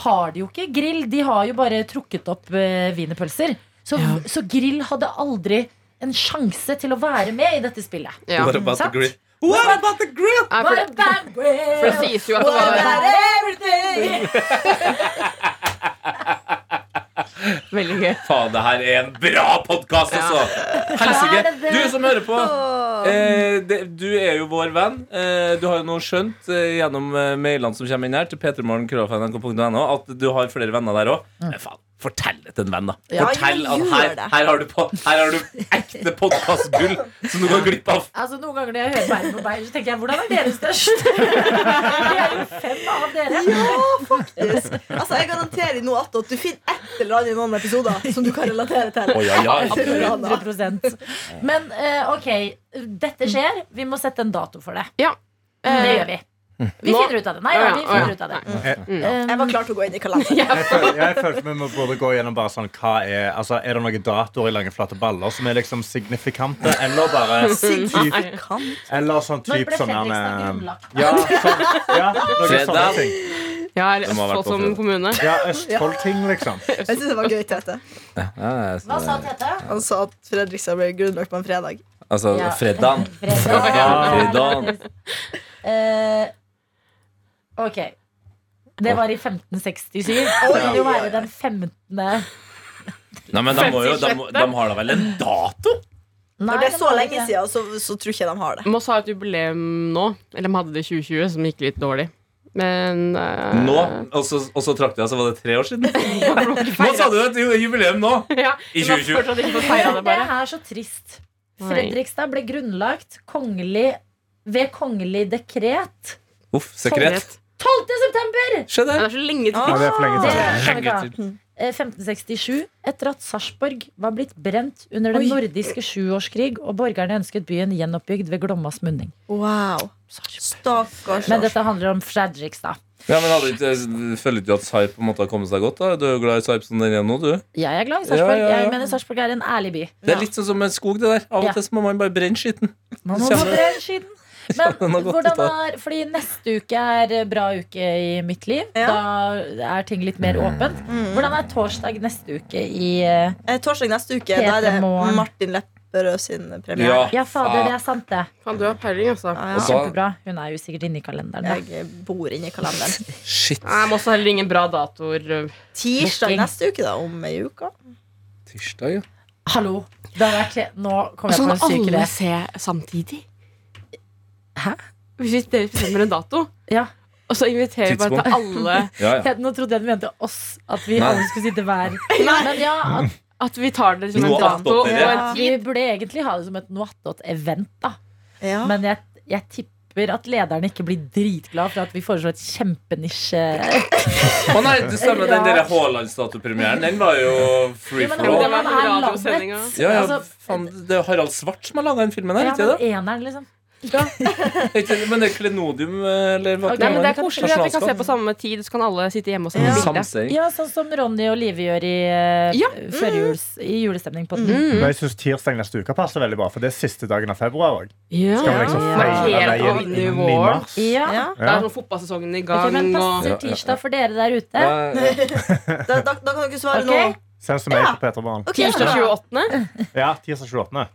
[SPEAKER 2] har de jo ikke grill. De har jo bare trukket opp eh, wienerpølser. Så,
[SPEAKER 4] Ja.
[SPEAKER 2] så grill hadde aldri en sjanse til å være med i dette spillet.
[SPEAKER 4] Ja.
[SPEAKER 5] What about the
[SPEAKER 2] Sant?
[SPEAKER 5] grill? What about the grill?
[SPEAKER 4] Nei, For,
[SPEAKER 2] What <laughs> about grill?
[SPEAKER 4] for det sies jo at det var
[SPEAKER 2] What about everything?
[SPEAKER 4] veldig gøy.
[SPEAKER 5] Faen, det her er en bra podkast, altså!
[SPEAKER 2] Er
[SPEAKER 5] Helsike!
[SPEAKER 2] det det?
[SPEAKER 5] Du som hører på, eh, det, du er jo vår venn. Eh, du har jo nå skjønt eh, gjennom eh, mailene som kommer inn her, til p3morgen.nrk.no, at du har flere venner der òg. Men faen, fortell det til en venn, da.
[SPEAKER 3] Ja,
[SPEAKER 5] Fortell
[SPEAKER 3] men
[SPEAKER 5] at
[SPEAKER 3] gjør
[SPEAKER 5] her,
[SPEAKER 3] det.
[SPEAKER 5] her, har, du på, her har du ekte podkastgull som du går glipp av.
[SPEAKER 2] Altså Noen ganger når jeg hører verden på Beyer, så tenker jeg hvordan er dere
[SPEAKER 3] <laughs>
[SPEAKER 2] størst? Vi er jo fem av dere.
[SPEAKER 3] Ja, faktisk. Altså, jeg garanterer i noe annet at du finner et eller annet i noen episoder som du kan relatere til.
[SPEAKER 5] Å, ja, ja,
[SPEAKER 3] Absolutt.
[SPEAKER 5] ja.
[SPEAKER 2] 100 Men eh, ok,
[SPEAKER 3] Mm.
[SPEAKER 2] dette skjer. Vi må sette en dato for det.
[SPEAKER 4] Eh,
[SPEAKER 2] Det gjør vi. Vi
[SPEAKER 4] Nå-
[SPEAKER 2] finner ut av det. Nei da, vi
[SPEAKER 4] Å, ja.
[SPEAKER 2] finner ut av det.
[SPEAKER 3] Mm.
[SPEAKER 2] Eh,
[SPEAKER 3] Jeg var klar til å gå inn i kalenderen.
[SPEAKER 2] <laughs>
[SPEAKER 6] Jeg føl- jeg følte vi må både gå gjennom bare sånn hva er, altså, er det noen datoer i lange, flate baller som er liksom signifikante, eller bare
[SPEAKER 5] <laughs>
[SPEAKER 6] typ,
[SPEAKER 3] Signifikant.
[SPEAKER 6] Eller sånn
[SPEAKER 2] Når
[SPEAKER 6] typ
[SPEAKER 2] ble
[SPEAKER 6] sånn
[SPEAKER 2] Fredrikstad
[SPEAKER 6] eh,
[SPEAKER 2] grunnlagt?
[SPEAKER 6] Ja, sånn, ja noen sånne
[SPEAKER 5] Fredag.
[SPEAKER 6] ting.
[SPEAKER 4] Ja, eller
[SPEAKER 5] Det må ha vært
[SPEAKER 4] Østfold som
[SPEAKER 5] på fredag.
[SPEAKER 4] kommune.
[SPEAKER 6] Ja, Østfold-ting, liksom.
[SPEAKER 3] Jeg syns det var gøy, Tete.
[SPEAKER 2] Hva sa Tete?
[SPEAKER 3] Han sa at Fredrikstad ble grunnlagt på en fredag.
[SPEAKER 5] Altså,
[SPEAKER 2] Ja.
[SPEAKER 5] fredagen. Fredagen.
[SPEAKER 2] Eh, ok. Det var i 1567. Det vil jo være den 15. Nei,
[SPEAKER 5] Nei, men de, må jo, de, må- de har da vel en dato?
[SPEAKER 3] Når det er
[SPEAKER 2] den
[SPEAKER 3] så
[SPEAKER 2] var
[SPEAKER 3] lenge
[SPEAKER 2] ikke.
[SPEAKER 3] siden, så, så tror ikke jeg de har det.
[SPEAKER 4] Moss har et jubileum nå. Eller de hadde det i 2020, som gikk litt dårlig. Men eh, <laughs>
[SPEAKER 5] Nå? Og så, og så trakk de altså, var det tre
[SPEAKER 2] <laughs>
[SPEAKER 5] år siden? Nå sa du et ju- jubileum nå!
[SPEAKER 4] ja,
[SPEAKER 5] I
[SPEAKER 4] de har
[SPEAKER 5] 2020.
[SPEAKER 4] fortsatt ikke fått feira det,
[SPEAKER 2] Men
[SPEAKER 4] bare.
[SPEAKER 2] Det er så trist.
[SPEAKER 4] Nei.
[SPEAKER 2] Fredrikstad ble grunnlagt kongelig ved kongelig dekret
[SPEAKER 5] Uff, sekret.
[SPEAKER 4] Rett.
[SPEAKER 2] 12. september!
[SPEAKER 5] Skjedde.
[SPEAKER 4] Men Det er så lenge
[SPEAKER 6] Ja,
[SPEAKER 4] til.
[SPEAKER 6] det er for lenge
[SPEAKER 2] Det
[SPEAKER 6] til.
[SPEAKER 2] kan vi ikke ha. Eh, 1567, etter at Sarpsborg var blitt brent under den nordiske sjuårskrig og borgerne ønsket byen gjenoppbygd ved Glommas munning.
[SPEAKER 3] Wow. Stakkars.
[SPEAKER 2] Men dette handler om Fredrikstad.
[SPEAKER 5] Ja, men hadde ikke, Føler ikke du at Sarp på en måte har kommet seg godt? da? Du er jo glad i Sarp som den er nå, du.
[SPEAKER 2] Jeg er glad i Sarpsborg.
[SPEAKER 5] Ja, ja, ja.
[SPEAKER 2] Jeg mener Sarpsborg er en ærlig by.
[SPEAKER 5] Det er litt sånn som en skog, det der. Av og
[SPEAKER 2] Ja.
[SPEAKER 5] til så må man bare brenne skitten.
[SPEAKER 2] Man
[SPEAKER 5] må
[SPEAKER 2] må
[SPEAKER 5] Kjenner-
[SPEAKER 2] brenne skitten. Men
[SPEAKER 5] den har gått
[SPEAKER 2] hvordan
[SPEAKER 5] ut av.
[SPEAKER 2] er, fordi neste uke er eh, bra uke i mitt liv. Da er ting litt mer åpent. Hvordan er torsdag neste uke i eh,
[SPEAKER 3] Eh, Torsdag neste uke da er det
[SPEAKER 2] Petremorgen.
[SPEAKER 3] Martin Lepperød sin premiere.
[SPEAKER 5] Ja.
[SPEAKER 2] Ja, fader, det er sant, det.
[SPEAKER 4] Faen, du har peiling, altså.
[SPEAKER 3] Ja, ja.
[SPEAKER 5] Og så-
[SPEAKER 2] Kjempebra. Hun er jo sikkert inne i kalenderen.
[SPEAKER 3] Jeg bor inni
[SPEAKER 2] <laughs>
[SPEAKER 3] kalenderen.
[SPEAKER 5] Shit.
[SPEAKER 4] Jeg må også heller ingen bra datoer. eh,
[SPEAKER 3] Tirsdag
[SPEAKER 2] Booking.
[SPEAKER 3] neste uke, da. Om ei uke.
[SPEAKER 5] Tirsdag, ja.
[SPEAKER 2] Da. Hallo. Det har vært Nå kommer
[SPEAKER 4] Sånn
[SPEAKER 2] jeg på en syk idé.
[SPEAKER 4] se samtidig.
[SPEAKER 2] Hæ?
[SPEAKER 4] Hvis dere bestemmer en dato,
[SPEAKER 2] Ja.
[SPEAKER 4] og så inviterer vi bare
[SPEAKER 5] Tidspunkt.
[SPEAKER 4] til alle
[SPEAKER 5] ja, ja.
[SPEAKER 2] Ja, Nå trodde jeg du mente oss. At vi
[SPEAKER 5] Nei.
[SPEAKER 2] alle skulle sitte hver. Men ja, at
[SPEAKER 4] At vi tar det som en
[SPEAKER 5] Noe
[SPEAKER 4] dato og
[SPEAKER 5] attåt,
[SPEAKER 4] en
[SPEAKER 5] dere.
[SPEAKER 2] vi burde egentlig ha det som et Noattot-event, da.
[SPEAKER 3] Ja.
[SPEAKER 2] Men jeg, jeg tipper at lederne ikke blir dritglad for at vi foreslår et kjempenisje.
[SPEAKER 5] Å nei, det stemmer. Den der Haaland-statupremieren, den var jo free
[SPEAKER 2] men
[SPEAKER 5] for
[SPEAKER 4] Det
[SPEAKER 5] all.
[SPEAKER 4] var
[SPEAKER 2] Han er
[SPEAKER 4] radiosendinga.
[SPEAKER 5] Ja, ja,
[SPEAKER 2] altså-
[SPEAKER 5] faen, det er Harald Svart som har laga den filmen her,
[SPEAKER 2] Ja, men
[SPEAKER 5] ikke det?
[SPEAKER 2] eneren, liksom.
[SPEAKER 5] Er ikke det? Men det er Klenodium, eller hva
[SPEAKER 2] Ok,
[SPEAKER 4] Nei, men Det er
[SPEAKER 5] heter?
[SPEAKER 4] koselig at vi kan se på
[SPEAKER 5] Nasjonalskatt.
[SPEAKER 4] samme tid, så kan alle sitte hjemme og se på Mm.
[SPEAKER 3] Ja.
[SPEAKER 4] bilde.
[SPEAKER 5] Samseiing.
[SPEAKER 2] Ja, sånn som Ronny og Live gjør i, eh,
[SPEAKER 4] Ja. Mm.
[SPEAKER 2] førjuls, i julestemning på den.
[SPEAKER 6] Men jeg synes tirsdag neste uke passer veldig bra, for det er siste dagen av februar òg.
[SPEAKER 4] Ja.
[SPEAKER 6] Skal vi liksom
[SPEAKER 2] Ja.
[SPEAKER 6] feire
[SPEAKER 4] Helt
[SPEAKER 6] veien
[SPEAKER 4] av
[SPEAKER 6] inn i
[SPEAKER 4] nivåer.
[SPEAKER 6] mars?
[SPEAKER 2] Ja.
[SPEAKER 3] Ja.
[SPEAKER 4] Det
[SPEAKER 6] Ja.
[SPEAKER 4] er sånn fotballsesongen i
[SPEAKER 2] Ok,
[SPEAKER 4] gang.
[SPEAKER 2] men
[SPEAKER 4] og
[SPEAKER 5] Ja,
[SPEAKER 2] passer
[SPEAKER 5] ja, ja.
[SPEAKER 2] tirsdag for dere der ute.
[SPEAKER 5] Ja, ja, ja.
[SPEAKER 3] Da, da, da kan dere svare
[SPEAKER 2] Ok?
[SPEAKER 6] Send som jeg
[SPEAKER 3] Ja.
[SPEAKER 6] på Peterbanen.
[SPEAKER 3] nå. Ok,
[SPEAKER 4] Tirsdag
[SPEAKER 3] ja.
[SPEAKER 4] 28.
[SPEAKER 6] Ja, tirsdag 28.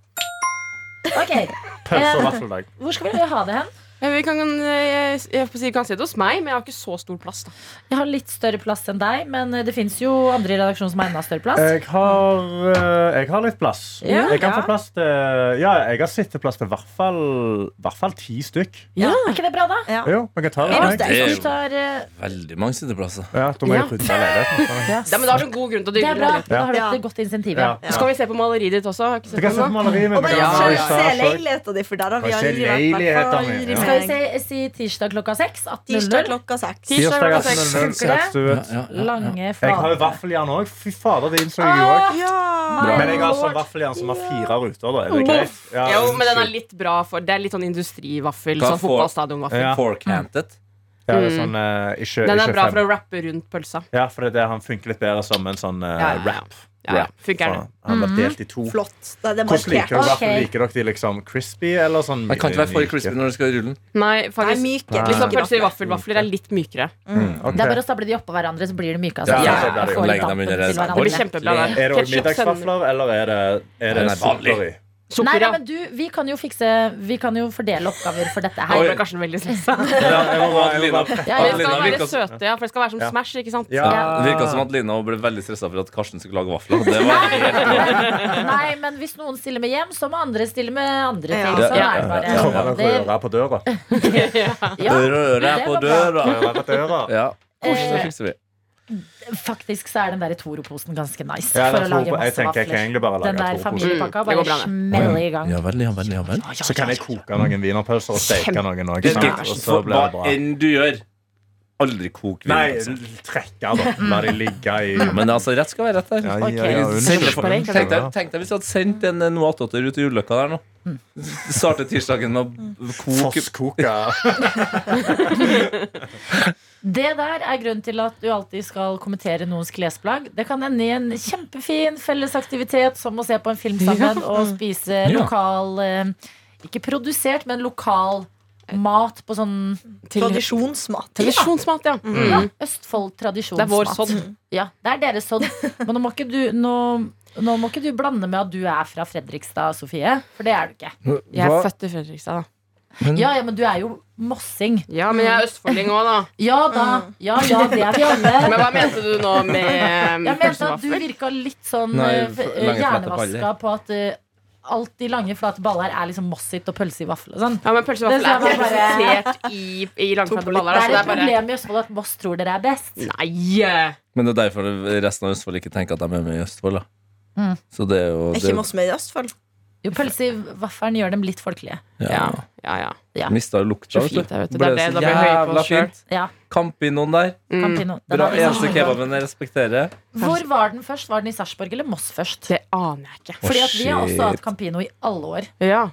[SPEAKER 2] Ok,
[SPEAKER 6] Pølse og
[SPEAKER 2] Ja.
[SPEAKER 6] vaffeldag.
[SPEAKER 2] Hvor skal vi ha det hen?
[SPEAKER 4] Ja, vi kan, eh, jeg, jeg, får si, vi kan se det hos meg, men jeg har ikke så stor plass. da
[SPEAKER 2] Jeg har litt større plass enn deg, men eh, det fins jo andre i redaksjonen som har enda større plass.
[SPEAKER 6] Jeg har, eh, jeg har litt plass.
[SPEAKER 2] Ja,
[SPEAKER 6] jeg kan
[SPEAKER 2] ja.
[SPEAKER 6] få plass til Ja, jeg har sitteplass til i hvert fall, hvert fall ti stykk.
[SPEAKER 2] Ja. Er ikke det bra, da?
[SPEAKER 3] Ja.
[SPEAKER 6] Jo, vi kan ta det.
[SPEAKER 3] Ja,
[SPEAKER 6] med meg.
[SPEAKER 3] det
[SPEAKER 5] er jo-
[SPEAKER 2] Vi tar, eh,
[SPEAKER 5] Veldig mange sitteplasser.
[SPEAKER 6] Ja, da må
[SPEAKER 4] Ja.
[SPEAKER 6] jeg rydde leiligheten.
[SPEAKER 2] ja.
[SPEAKER 4] Ja, men Da har du god grunn til å
[SPEAKER 2] Det er
[SPEAKER 4] dyrke
[SPEAKER 2] bra.
[SPEAKER 4] leiligheten.
[SPEAKER 2] Da har
[SPEAKER 3] Ja.
[SPEAKER 2] du et godt insentiv.
[SPEAKER 6] Ja.
[SPEAKER 2] Ja.
[SPEAKER 3] Ja.
[SPEAKER 4] Så kan vi se på maleriet ditt også. Har ikke
[SPEAKER 6] Du
[SPEAKER 4] sett
[SPEAKER 6] kan se
[SPEAKER 4] det ennå.
[SPEAKER 6] på maleriet
[SPEAKER 3] Og bare
[SPEAKER 6] mitt.
[SPEAKER 4] Ja,
[SPEAKER 3] se,
[SPEAKER 4] ja,
[SPEAKER 3] se
[SPEAKER 6] ja.
[SPEAKER 3] leiligheta di, for der har vi
[SPEAKER 6] Bare se
[SPEAKER 3] aldri vært.
[SPEAKER 6] leiligheten
[SPEAKER 3] hvertfall
[SPEAKER 6] min,
[SPEAKER 3] aldri
[SPEAKER 6] ja.
[SPEAKER 2] Skal vi
[SPEAKER 3] meg.
[SPEAKER 2] si, si tirsdag klokka seks?
[SPEAKER 3] Tirsdag
[SPEAKER 2] 18.00?
[SPEAKER 3] klokka seks.
[SPEAKER 4] Tirsdag
[SPEAKER 6] Tirsdag
[SPEAKER 4] klokka
[SPEAKER 6] altså,
[SPEAKER 4] seks.
[SPEAKER 6] 00,
[SPEAKER 2] Funker det?
[SPEAKER 6] sett du
[SPEAKER 5] Ja,
[SPEAKER 6] ut.
[SPEAKER 5] ja, ja.
[SPEAKER 2] Lange
[SPEAKER 6] Jeg har jo
[SPEAKER 2] flater.
[SPEAKER 6] vaffeljern òg. Fy fader, det innså jeg jo òg.
[SPEAKER 3] Ja.
[SPEAKER 2] Bra.
[SPEAKER 6] Men jeg har
[SPEAKER 2] Lord.
[SPEAKER 6] sånn vaffeljern som har fire ruter. Da. Er det greit? Ja,
[SPEAKER 4] Ah, Jo, men den er litt bra for Det er litt sånn industrivaffel.
[SPEAKER 5] Da
[SPEAKER 4] Sånn
[SPEAKER 5] får-
[SPEAKER 4] fotballstadionvaffel.
[SPEAKER 5] Mm.
[SPEAKER 6] Ja.
[SPEAKER 5] Forkantet.
[SPEAKER 6] ja, det er sånn, eh, ikke,
[SPEAKER 4] Den er
[SPEAKER 6] ikke
[SPEAKER 4] bra
[SPEAKER 6] fem.
[SPEAKER 4] for å rappe rundt pølsa.
[SPEAKER 6] Ja, for det er det han funker litt bedre som en sånn eh,
[SPEAKER 4] Ja, ja, ja.
[SPEAKER 6] wrap.
[SPEAKER 4] Ja,
[SPEAKER 5] Wrap.
[SPEAKER 4] funker den.
[SPEAKER 6] Så Han var delt i to.
[SPEAKER 3] Flott. Da er det
[SPEAKER 6] Hvordan liker
[SPEAKER 3] markert.
[SPEAKER 6] dere vaffel?
[SPEAKER 2] Ok.
[SPEAKER 6] Liker dere de liksom crispy eller sånn?
[SPEAKER 5] Den kan ikke være for
[SPEAKER 6] myke?
[SPEAKER 5] crispy når du skal rulle den.
[SPEAKER 4] Nei,
[SPEAKER 3] Nei,
[SPEAKER 4] faktisk.
[SPEAKER 3] myke.
[SPEAKER 4] Litt sånn
[SPEAKER 3] myke
[SPEAKER 4] pølser i
[SPEAKER 3] vafler.
[SPEAKER 4] vaffelvafler er litt mykere.
[SPEAKER 6] Mm, ok.
[SPEAKER 2] Det er bare å stable de oppå hverandre, så blir det myke. Altså.
[SPEAKER 5] Ja,
[SPEAKER 6] Ja, det blir det.
[SPEAKER 2] Får
[SPEAKER 5] Legg dem
[SPEAKER 2] dampen
[SPEAKER 5] under
[SPEAKER 2] til
[SPEAKER 5] en-
[SPEAKER 2] hverandre.
[SPEAKER 4] Det blir kjempebra der.
[SPEAKER 6] Er det også
[SPEAKER 4] Ketchup,
[SPEAKER 6] middagsvafler, eller er det, er
[SPEAKER 5] Nei,
[SPEAKER 6] det
[SPEAKER 5] nei,
[SPEAKER 6] sukker i?
[SPEAKER 2] Nei, nei,
[SPEAKER 4] Sukker, ja.
[SPEAKER 2] men du, vi kan jo fikse Vi kan jo fordele oppgaver for dette
[SPEAKER 4] Her
[SPEAKER 2] her.
[SPEAKER 4] ble Karsten veldig stressa.
[SPEAKER 6] Ja, jeg må bare- jeg må
[SPEAKER 5] Adelina,
[SPEAKER 6] bare-
[SPEAKER 2] Ja,
[SPEAKER 4] Det
[SPEAKER 2] ja.
[SPEAKER 5] Adelina
[SPEAKER 4] skal være
[SPEAKER 5] virka
[SPEAKER 4] søte, ja, for det skal være som
[SPEAKER 6] Ja.
[SPEAKER 4] Smash, ikke <laughs> sant?
[SPEAKER 6] Ja.
[SPEAKER 5] Det virka som at Lina ble veldig stressa for at Karsten skulle lage vafler. Det var helt
[SPEAKER 2] Nei, men hvis noen stiller med hjem, så må andre stille med andre ting.
[SPEAKER 3] Ja.
[SPEAKER 2] Sånn
[SPEAKER 4] Ja.
[SPEAKER 2] er det bare.
[SPEAKER 6] Kommer han og
[SPEAKER 2] Det-
[SPEAKER 6] rører på døra?
[SPEAKER 2] ja,
[SPEAKER 5] Røret er
[SPEAKER 2] Det
[SPEAKER 5] på
[SPEAKER 2] var bra.
[SPEAKER 5] døra.
[SPEAKER 6] Rører på døra.
[SPEAKER 5] <laughs> Ja, det
[SPEAKER 2] eh,
[SPEAKER 5] fikser vi.
[SPEAKER 2] faktisk så er den der Toro-posen ganske nice.
[SPEAKER 6] Ja,
[SPEAKER 2] for å
[SPEAKER 6] det er
[SPEAKER 2] lage
[SPEAKER 6] to- jeg
[SPEAKER 2] masse
[SPEAKER 6] tenker jeg kan
[SPEAKER 2] vafler.
[SPEAKER 6] egentlig bare
[SPEAKER 2] Den
[SPEAKER 6] lage
[SPEAKER 2] der
[SPEAKER 6] to poser.
[SPEAKER 2] familiepakka
[SPEAKER 4] Mm, det går bra,
[SPEAKER 2] bare
[SPEAKER 4] det.
[SPEAKER 2] smeller i gang.
[SPEAKER 5] Ja vel, ja vel, ja vel.
[SPEAKER 6] Så kan jeg koke noen wienerpølser og steke noen òg. Og så blir det
[SPEAKER 5] Hva
[SPEAKER 6] bra.
[SPEAKER 5] enn du gjør, aldri kok
[SPEAKER 6] Nei,
[SPEAKER 5] vin. altså.
[SPEAKER 6] trekke, da. La de ligge i
[SPEAKER 5] Men altså, rett skal være rett der.
[SPEAKER 6] <laughs> Ja, ja, ja,
[SPEAKER 5] Tenk
[SPEAKER 6] unnskyld.
[SPEAKER 5] deg-
[SPEAKER 6] Unnskyld.
[SPEAKER 5] Tenk deg, tenk deg hvis du hadde sendt en eh, Noah Totter ut i juleløkka der nå. Starte tirsdagen med å
[SPEAKER 2] <laughs>
[SPEAKER 5] koke
[SPEAKER 6] Fosskoka.
[SPEAKER 2] Det der er grunnen til at du alltid skal kommentere noens klesplagg. Det kan ende i en kjempefin fellesaktivitet som å se på en film sammen og spise
[SPEAKER 5] Ja.
[SPEAKER 2] lokal eh, Ikke produsert, men lokal mat på sånn
[SPEAKER 3] <laughs> Tradisjonsmat.
[SPEAKER 4] Tradisjonsmat, ja.
[SPEAKER 2] ja,
[SPEAKER 4] Mm.
[SPEAKER 2] Østfold
[SPEAKER 4] Det er vår sånn
[SPEAKER 2] tradisjonsmat.
[SPEAKER 4] sodd.
[SPEAKER 2] Ja, det er deres
[SPEAKER 5] <laughs>
[SPEAKER 2] sodd. Men nå må ikke du nå nå må ikke du blande med at du er fra Fredrikstad, Sofie. For det er du ikke.
[SPEAKER 4] Jeg er
[SPEAKER 5] Hva-
[SPEAKER 4] født i Fredrikstad, da.
[SPEAKER 2] Ja, ja, men du er jo mossing.
[SPEAKER 4] Ja, men jeg er østfolding òg, da.
[SPEAKER 2] Ja da.
[SPEAKER 5] Mm.
[SPEAKER 2] Ja, ja, det er
[SPEAKER 5] <laughs>
[SPEAKER 2] vi alle.
[SPEAKER 4] Men hva mente du nå med
[SPEAKER 2] Jeg mente at du
[SPEAKER 4] pølsevaffel?
[SPEAKER 2] virka litt sånn
[SPEAKER 5] Nei,
[SPEAKER 2] eh,
[SPEAKER 5] f-
[SPEAKER 2] eh,
[SPEAKER 5] lange, flate
[SPEAKER 2] hjernevaska på at eh, alt de lange, flate baller er liksom mossigt og pølse i vaffel og sånn.
[SPEAKER 4] Ja, men
[SPEAKER 2] Det
[SPEAKER 4] pølsevaffel
[SPEAKER 2] skal
[SPEAKER 4] er
[SPEAKER 2] være
[SPEAKER 4] ikke representert i, i langflate baller.
[SPEAKER 2] Det er
[SPEAKER 4] Altså, det
[SPEAKER 2] et
[SPEAKER 4] er bare
[SPEAKER 2] problem i Østfold at Moss tror dere er best.
[SPEAKER 4] Nei!
[SPEAKER 5] Men det er derfor resten av Østfold ikke tenker at de er med i Østfold. Da.
[SPEAKER 2] Mm.
[SPEAKER 5] Så det er jo
[SPEAKER 3] Er
[SPEAKER 5] det,
[SPEAKER 3] ikke Moss med i Østfold?
[SPEAKER 2] Jo, pølse i vaffelen gjør dem litt folkelige.
[SPEAKER 5] ja.
[SPEAKER 4] Ja, ja, ja.
[SPEAKER 2] Ja.
[SPEAKER 5] Mista lukta,
[SPEAKER 4] Så fint det er, vet du. Det er det, da blir jeg høy på oss selv.
[SPEAKER 2] Ja,
[SPEAKER 5] Kampinoen der.
[SPEAKER 4] Mm.
[SPEAKER 2] Campino. Den
[SPEAKER 5] Bra
[SPEAKER 2] er liksom-
[SPEAKER 5] eneste kebaben jeg respekterer.
[SPEAKER 2] Hvor var den først? Var den i Sarpsborg eller Moss først?
[SPEAKER 4] Det aner jeg ikke.
[SPEAKER 2] Fordi at vi har også hatt
[SPEAKER 5] shit.
[SPEAKER 2] Campino i alle år.
[SPEAKER 4] Ja.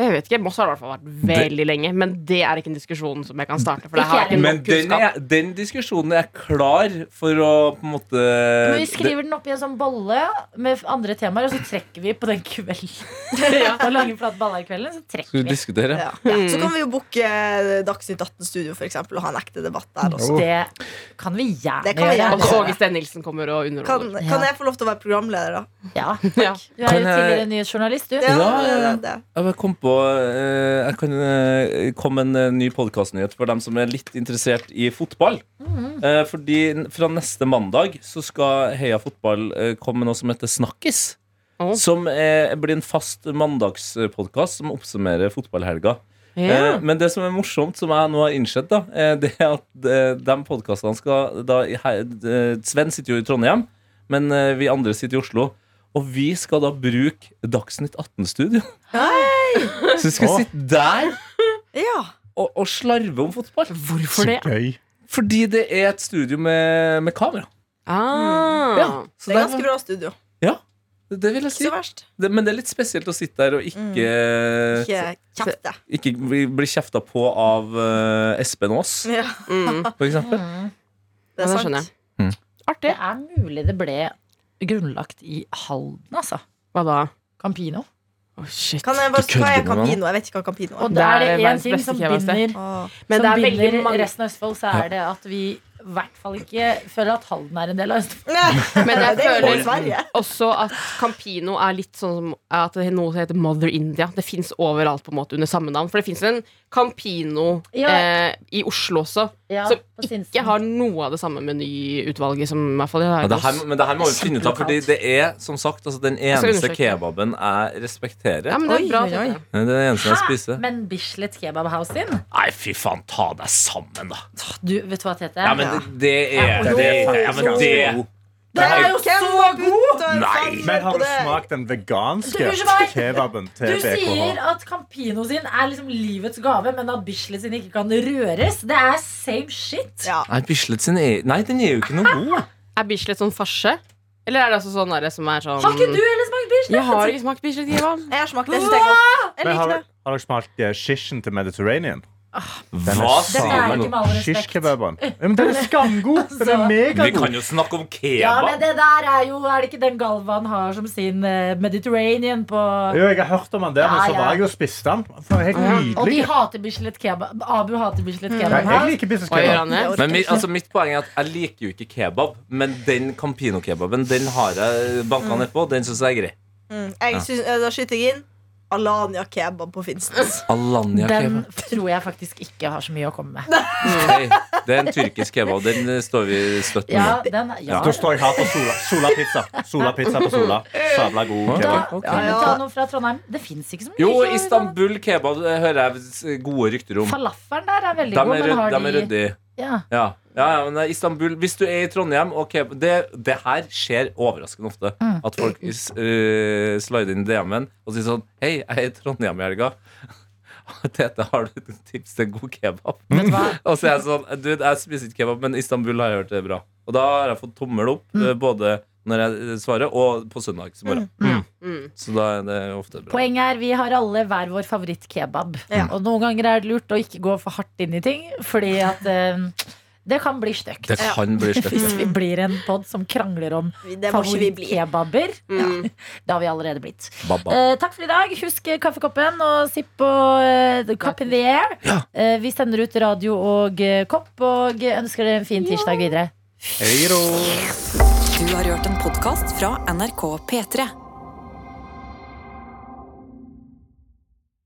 [SPEAKER 4] Jeg vet ikke, Moss har i hvert fall vært veldig lenge, men det er ikke en diskusjon som jeg kan starte. For det
[SPEAKER 2] Ikke
[SPEAKER 4] har jeg
[SPEAKER 2] jeg
[SPEAKER 4] ikke
[SPEAKER 5] Men
[SPEAKER 4] nok
[SPEAKER 5] den,
[SPEAKER 4] kunnskap.
[SPEAKER 5] er, den diskusjonen er klar for å på en måte
[SPEAKER 2] Men vi skriver den opp i en sånn bolle med andre temaer, og så trekker vi på den
[SPEAKER 4] <laughs>
[SPEAKER 2] kvelden. På lange, flate ballerkvelden, så
[SPEAKER 5] Skal
[SPEAKER 2] trekker
[SPEAKER 5] du
[SPEAKER 2] vi.
[SPEAKER 5] diskutere?
[SPEAKER 3] Ja. Så kan vi jo booke eh, Dagsnytt 18-studio for eksempel, og ha en ekte debatt der. Også.
[SPEAKER 2] Det kan vi gjerne
[SPEAKER 3] Det kan vi
[SPEAKER 2] gjøre.
[SPEAKER 4] Altså, Åge Steen Nilsen kommer og
[SPEAKER 3] Kan,
[SPEAKER 4] underholder.
[SPEAKER 3] kan jeg få lov til å være programleder, da?
[SPEAKER 2] Ja.
[SPEAKER 4] Ja.
[SPEAKER 2] Du er jo
[SPEAKER 5] Kan jeg-
[SPEAKER 2] tidligere nyhetsjournalist, du.
[SPEAKER 3] Ja,
[SPEAKER 5] Ja, ja, ja.
[SPEAKER 3] det- det.
[SPEAKER 5] Jeg bare kom på eh, Jeg kan eh, komme en eh, ny podkastnyhet for dem som er litt interessert i fotball.
[SPEAKER 4] Mhm.
[SPEAKER 5] Eh, fordi n- fra neste mandag så skal Heia Fotball eh, komme med noe som heter Snakkis.
[SPEAKER 4] Å.
[SPEAKER 5] Som eh, blir en fast mandagspodkast som oppsummerer fotballhelga.
[SPEAKER 4] Ja.
[SPEAKER 5] Eh, Men det som er morsomt, som jeg nå har innsett, da, eh, det er at eh, de podkastene skal da, i her- eh, Sven sitter jo i Trondheim, men eh, vi andre sitter i Oslo. Og vi skal da bruke Dagsnytt 18-studio. Så vi skal
[SPEAKER 6] Åh.
[SPEAKER 5] sitte der
[SPEAKER 3] Ja.
[SPEAKER 5] og, og slarve om fotball.
[SPEAKER 4] Hvorfor det?
[SPEAKER 6] <laughs> Gøy.
[SPEAKER 5] Fordi det er et studio med, med kamera.
[SPEAKER 4] Ah.
[SPEAKER 5] Ja, så
[SPEAKER 3] Det er ganske
[SPEAKER 5] det,
[SPEAKER 3] bra studio.
[SPEAKER 5] det vil jeg
[SPEAKER 3] Ikke
[SPEAKER 5] si.
[SPEAKER 3] så verst.
[SPEAKER 5] Det, men det er litt spesielt å sitte der og ikke,
[SPEAKER 3] Ikke kjapt, det.
[SPEAKER 5] ikke bli, bli kjefta på av eh, Espen Aas,
[SPEAKER 3] Ja,
[SPEAKER 4] Mm.
[SPEAKER 5] for eksempel.
[SPEAKER 3] det
[SPEAKER 4] Ja,
[SPEAKER 3] er
[SPEAKER 4] det
[SPEAKER 3] sant.
[SPEAKER 4] skjønner jeg.
[SPEAKER 2] Det
[SPEAKER 4] Artig.
[SPEAKER 2] er mulig det ble grunnlagt i Halden, altså.
[SPEAKER 4] Hva da?
[SPEAKER 2] Campino.
[SPEAKER 4] Å, shit.
[SPEAKER 3] Kan jeg bare
[SPEAKER 5] Du kødder
[SPEAKER 3] hva er
[SPEAKER 5] med meg nå.
[SPEAKER 3] Campino? Jeg vet ikke hva Campino er.
[SPEAKER 2] Og
[SPEAKER 4] Det
[SPEAKER 2] da er
[SPEAKER 4] er
[SPEAKER 2] det én
[SPEAKER 4] verdens
[SPEAKER 2] ting
[SPEAKER 4] beste
[SPEAKER 2] som
[SPEAKER 4] kjeveste.
[SPEAKER 2] binder,
[SPEAKER 3] Åh.
[SPEAKER 4] Men
[SPEAKER 2] som
[SPEAKER 4] det er veldig
[SPEAKER 2] binder
[SPEAKER 4] mange
[SPEAKER 2] resten av Østfold, så er det at vi i hvert fall ikke føler at Halden er en del av Østfold.
[SPEAKER 4] Men jeg
[SPEAKER 3] <laughs> det er jo
[SPEAKER 4] føler-
[SPEAKER 3] i Sverige.
[SPEAKER 4] Også at Campino er litt sånn som at det er noe som heter Mother India. Det fins overalt på en måte under samme navn. For det fins en Campino
[SPEAKER 2] Ja.
[SPEAKER 4] eh, i Oslo også,
[SPEAKER 2] Ja,
[SPEAKER 4] som
[SPEAKER 2] på Sinsen.
[SPEAKER 4] ikke har noe av det samme menyutvalget som i hvert fall i
[SPEAKER 5] Ja, det her,
[SPEAKER 4] Lagos.
[SPEAKER 5] men det her må vi finne ut av, fordi det er som sagt altså, den eneste
[SPEAKER 4] undersøke.
[SPEAKER 5] kebaben jeg respekterer.
[SPEAKER 4] Ja, men det er
[SPEAKER 3] Oi,
[SPEAKER 4] bra.
[SPEAKER 3] oi,
[SPEAKER 4] tenker
[SPEAKER 3] oi.
[SPEAKER 4] jeg.
[SPEAKER 5] Det er den eneste jeg spiser.
[SPEAKER 2] Men Bislett Kebab House sin
[SPEAKER 5] Nei, fy faen, ta deg sammen, da!
[SPEAKER 2] du, Vet du hva det heter?
[SPEAKER 5] Ja, men det, det er
[SPEAKER 2] Ja,
[SPEAKER 5] det, ja, men det
[SPEAKER 2] Den er jo
[SPEAKER 3] Hvem
[SPEAKER 2] så
[SPEAKER 3] var
[SPEAKER 2] god!
[SPEAKER 3] god til å
[SPEAKER 5] Nei.
[SPEAKER 3] fange
[SPEAKER 6] Men har
[SPEAKER 3] på
[SPEAKER 6] du
[SPEAKER 3] det?
[SPEAKER 6] smakt den
[SPEAKER 2] Du,
[SPEAKER 6] veganske
[SPEAKER 2] unnskyld meg.
[SPEAKER 6] kebaben
[SPEAKER 2] Du
[SPEAKER 6] til
[SPEAKER 2] sier
[SPEAKER 6] BKH?
[SPEAKER 2] at Campino sin er liksom livets gave, men at Bislett sin ikke kan røres. Det er same shit.
[SPEAKER 3] Ja.
[SPEAKER 5] Nei, Bislett sin er Nei, den er jo ikke noe god.
[SPEAKER 4] Er Bislett sånn farse? Eller er det altså sånn derre som er sånn
[SPEAKER 2] Har ikke du heller smakt Bislett?
[SPEAKER 4] Jeg har ikke smakt Bislett kebab.
[SPEAKER 3] Jeg har smakt det. Jeg synes det er godt. Jeg
[SPEAKER 6] Men har,
[SPEAKER 3] liker det.
[SPEAKER 6] har dere smakt eh, shishen til Mediterranean? Den
[SPEAKER 5] Hva
[SPEAKER 2] Dette
[SPEAKER 6] er
[SPEAKER 5] sier
[SPEAKER 2] er
[SPEAKER 5] du
[SPEAKER 2] ikke
[SPEAKER 5] nå?
[SPEAKER 2] med all respekt.
[SPEAKER 6] Shish-kebaben. Ja,
[SPEAKER 2] <laughs>
[SPEAKER 6] men den er skamgod! Den er
[SPEAKER 2] Altså.
[SPEAKER 5] Vi
[SPEAKER 6] megagod!
[SPEAKER 5] kan jo snakke om
[SPEAKER 2] Ja, men
[SPEAKER 5] kebab.
[SPEAKER 2] det der er jo Er det ikke den Galvan har som sin eh, Mediterranean på
[SPEAKER 6] Jo, jeg har hørt om den der, men
[SPEAKER 2] Ja,
[SPEAKER 6] så
[SPEAKER 2] ja.
[SPEAKER 6] var jeg og spiste den. Den var helt
[SPEAKER 2] Og de
[SPEAKER 6] nydelig.
[SPEAKER 2] hater Bislett kebab. Abu hater Bislett
[SPEAKER 6] Nei,
[SPEAKER 2] kebab.
[SPEAKER 6] jeg liker business
[SPEAKER 4] Oi,
[SPEAKER 6] kebab.
[SPEAKER 4] Rane.
[SPEAKER 5] Men mi, altså, mitt poeng er at jeg liker jo ikke kebab, men den Campino-kebaben Den har jeg banka nedpå. Den syns jeg er grei.
[SPEAKER 3] Mm. Jeg synes, eh, da skyter jeg inn Alanya kebab på Finnsnes.
[SPEAKER 5] Alanya
[SPEAKER 2] Den
[SPEAKER 5] kebab.
[SPEAKER 2] tror jeg faktisk ikke har så mye å komme med.
[SPEAKER 5] Nei, det er en tyrkisk kebab. Den eh, står vi støtt med.
[SPEAKER 2] Ja, den, ja.
[SPEAKER 6] Da står jeg her på Sola. Sola pizza. Sola pizza på
[SPEAKER 2] <laughs>
[SPEAKER 6] Sola. Sabla god
[SPEAKER 2] Da,
[SPEAKER 6] kebab.
[SPEAKER 5] Ok.
[SPEAKER 2] ja, men ta noe fra Trondheim. Det fins ikke så mye.
[SPEAKER 5] Jo,
[SPEAKER 2] fra-
[SPEAKER 5] Istanbul kebab eh, hører jeg s- gode rykter om.
[SPEAKER 2] Falafelen der er veldig
[SPEAKER 5] De
[SPEAKER 2] god,
[SPEAKER 5] er,
[SPEAKER 2] men
[SPEAKER 5] rød,
[SPEAKER 2] har
[SPEAKER 5] de er
[SPEAKER 2] de
[SPEAKER 5] ryddige.
[SPEAKER 2] ja.
[SPEAKER 5] Ja. Ja, ja, men eh, Istanbul Hvis du er i Trondheim og kebab Det, det her skjer overraskende ofte.
[SPEAKER 2] Mm.
[SPEAKER 5] At folk eh, slider inn i DM-en og sier sånn Hei, jeg er i Trondheim i helga. <laughs> Tete, har du et tips til en god kebab?
[SPEAKER 2] Vet du hva?
[SPEAKER 5] <laughs> Og så er jeg sånn Du, jeg spiser ikke kebab, men Istanbul har jeg hørt er bra. Og da har jeg fått tommel opp,
[SPEAKER 2] Mm.
[SPEAKER 5] eh, både når jeg eh, svarer, og på søndagsmorgen.
[SPEAKER 4] Mm.
[SPEAKER 5] Så da er det ofte bra.
[SPEAKER 2] Poenget er vi har alle hver vår favorittkebab.
[SPEAKER 3] Ja.
[SPEAKER 2] Og noen ganger er det lurt å ikke gå for hardt inn i ting, fordi at eh, det kan bli stygt.
[SPEAKER 5] Det kan bli slett.
[SPEAKER 2] Hvis vi blir en pod som krangler om
[SPEAKER 3] Mm. Det må ikke vi bli.
[SPEAKER 2] favorittkebaber,
[SPEAKER 4] Mm.
[SPEAKER 2] det har vi allerede blitt.
[SPEAKER 5] Baba.
[SPEAKER 2] Eh, takk for i dag. Husk eh, kaffekoppen og sipp på eh, the cup in the air. Eh, vi sender ut radio og eh, kopp, og ønsker dere en fin tirsdag videre.
[SPEAKER 1] Du har hørt en podkast fra NRK P3.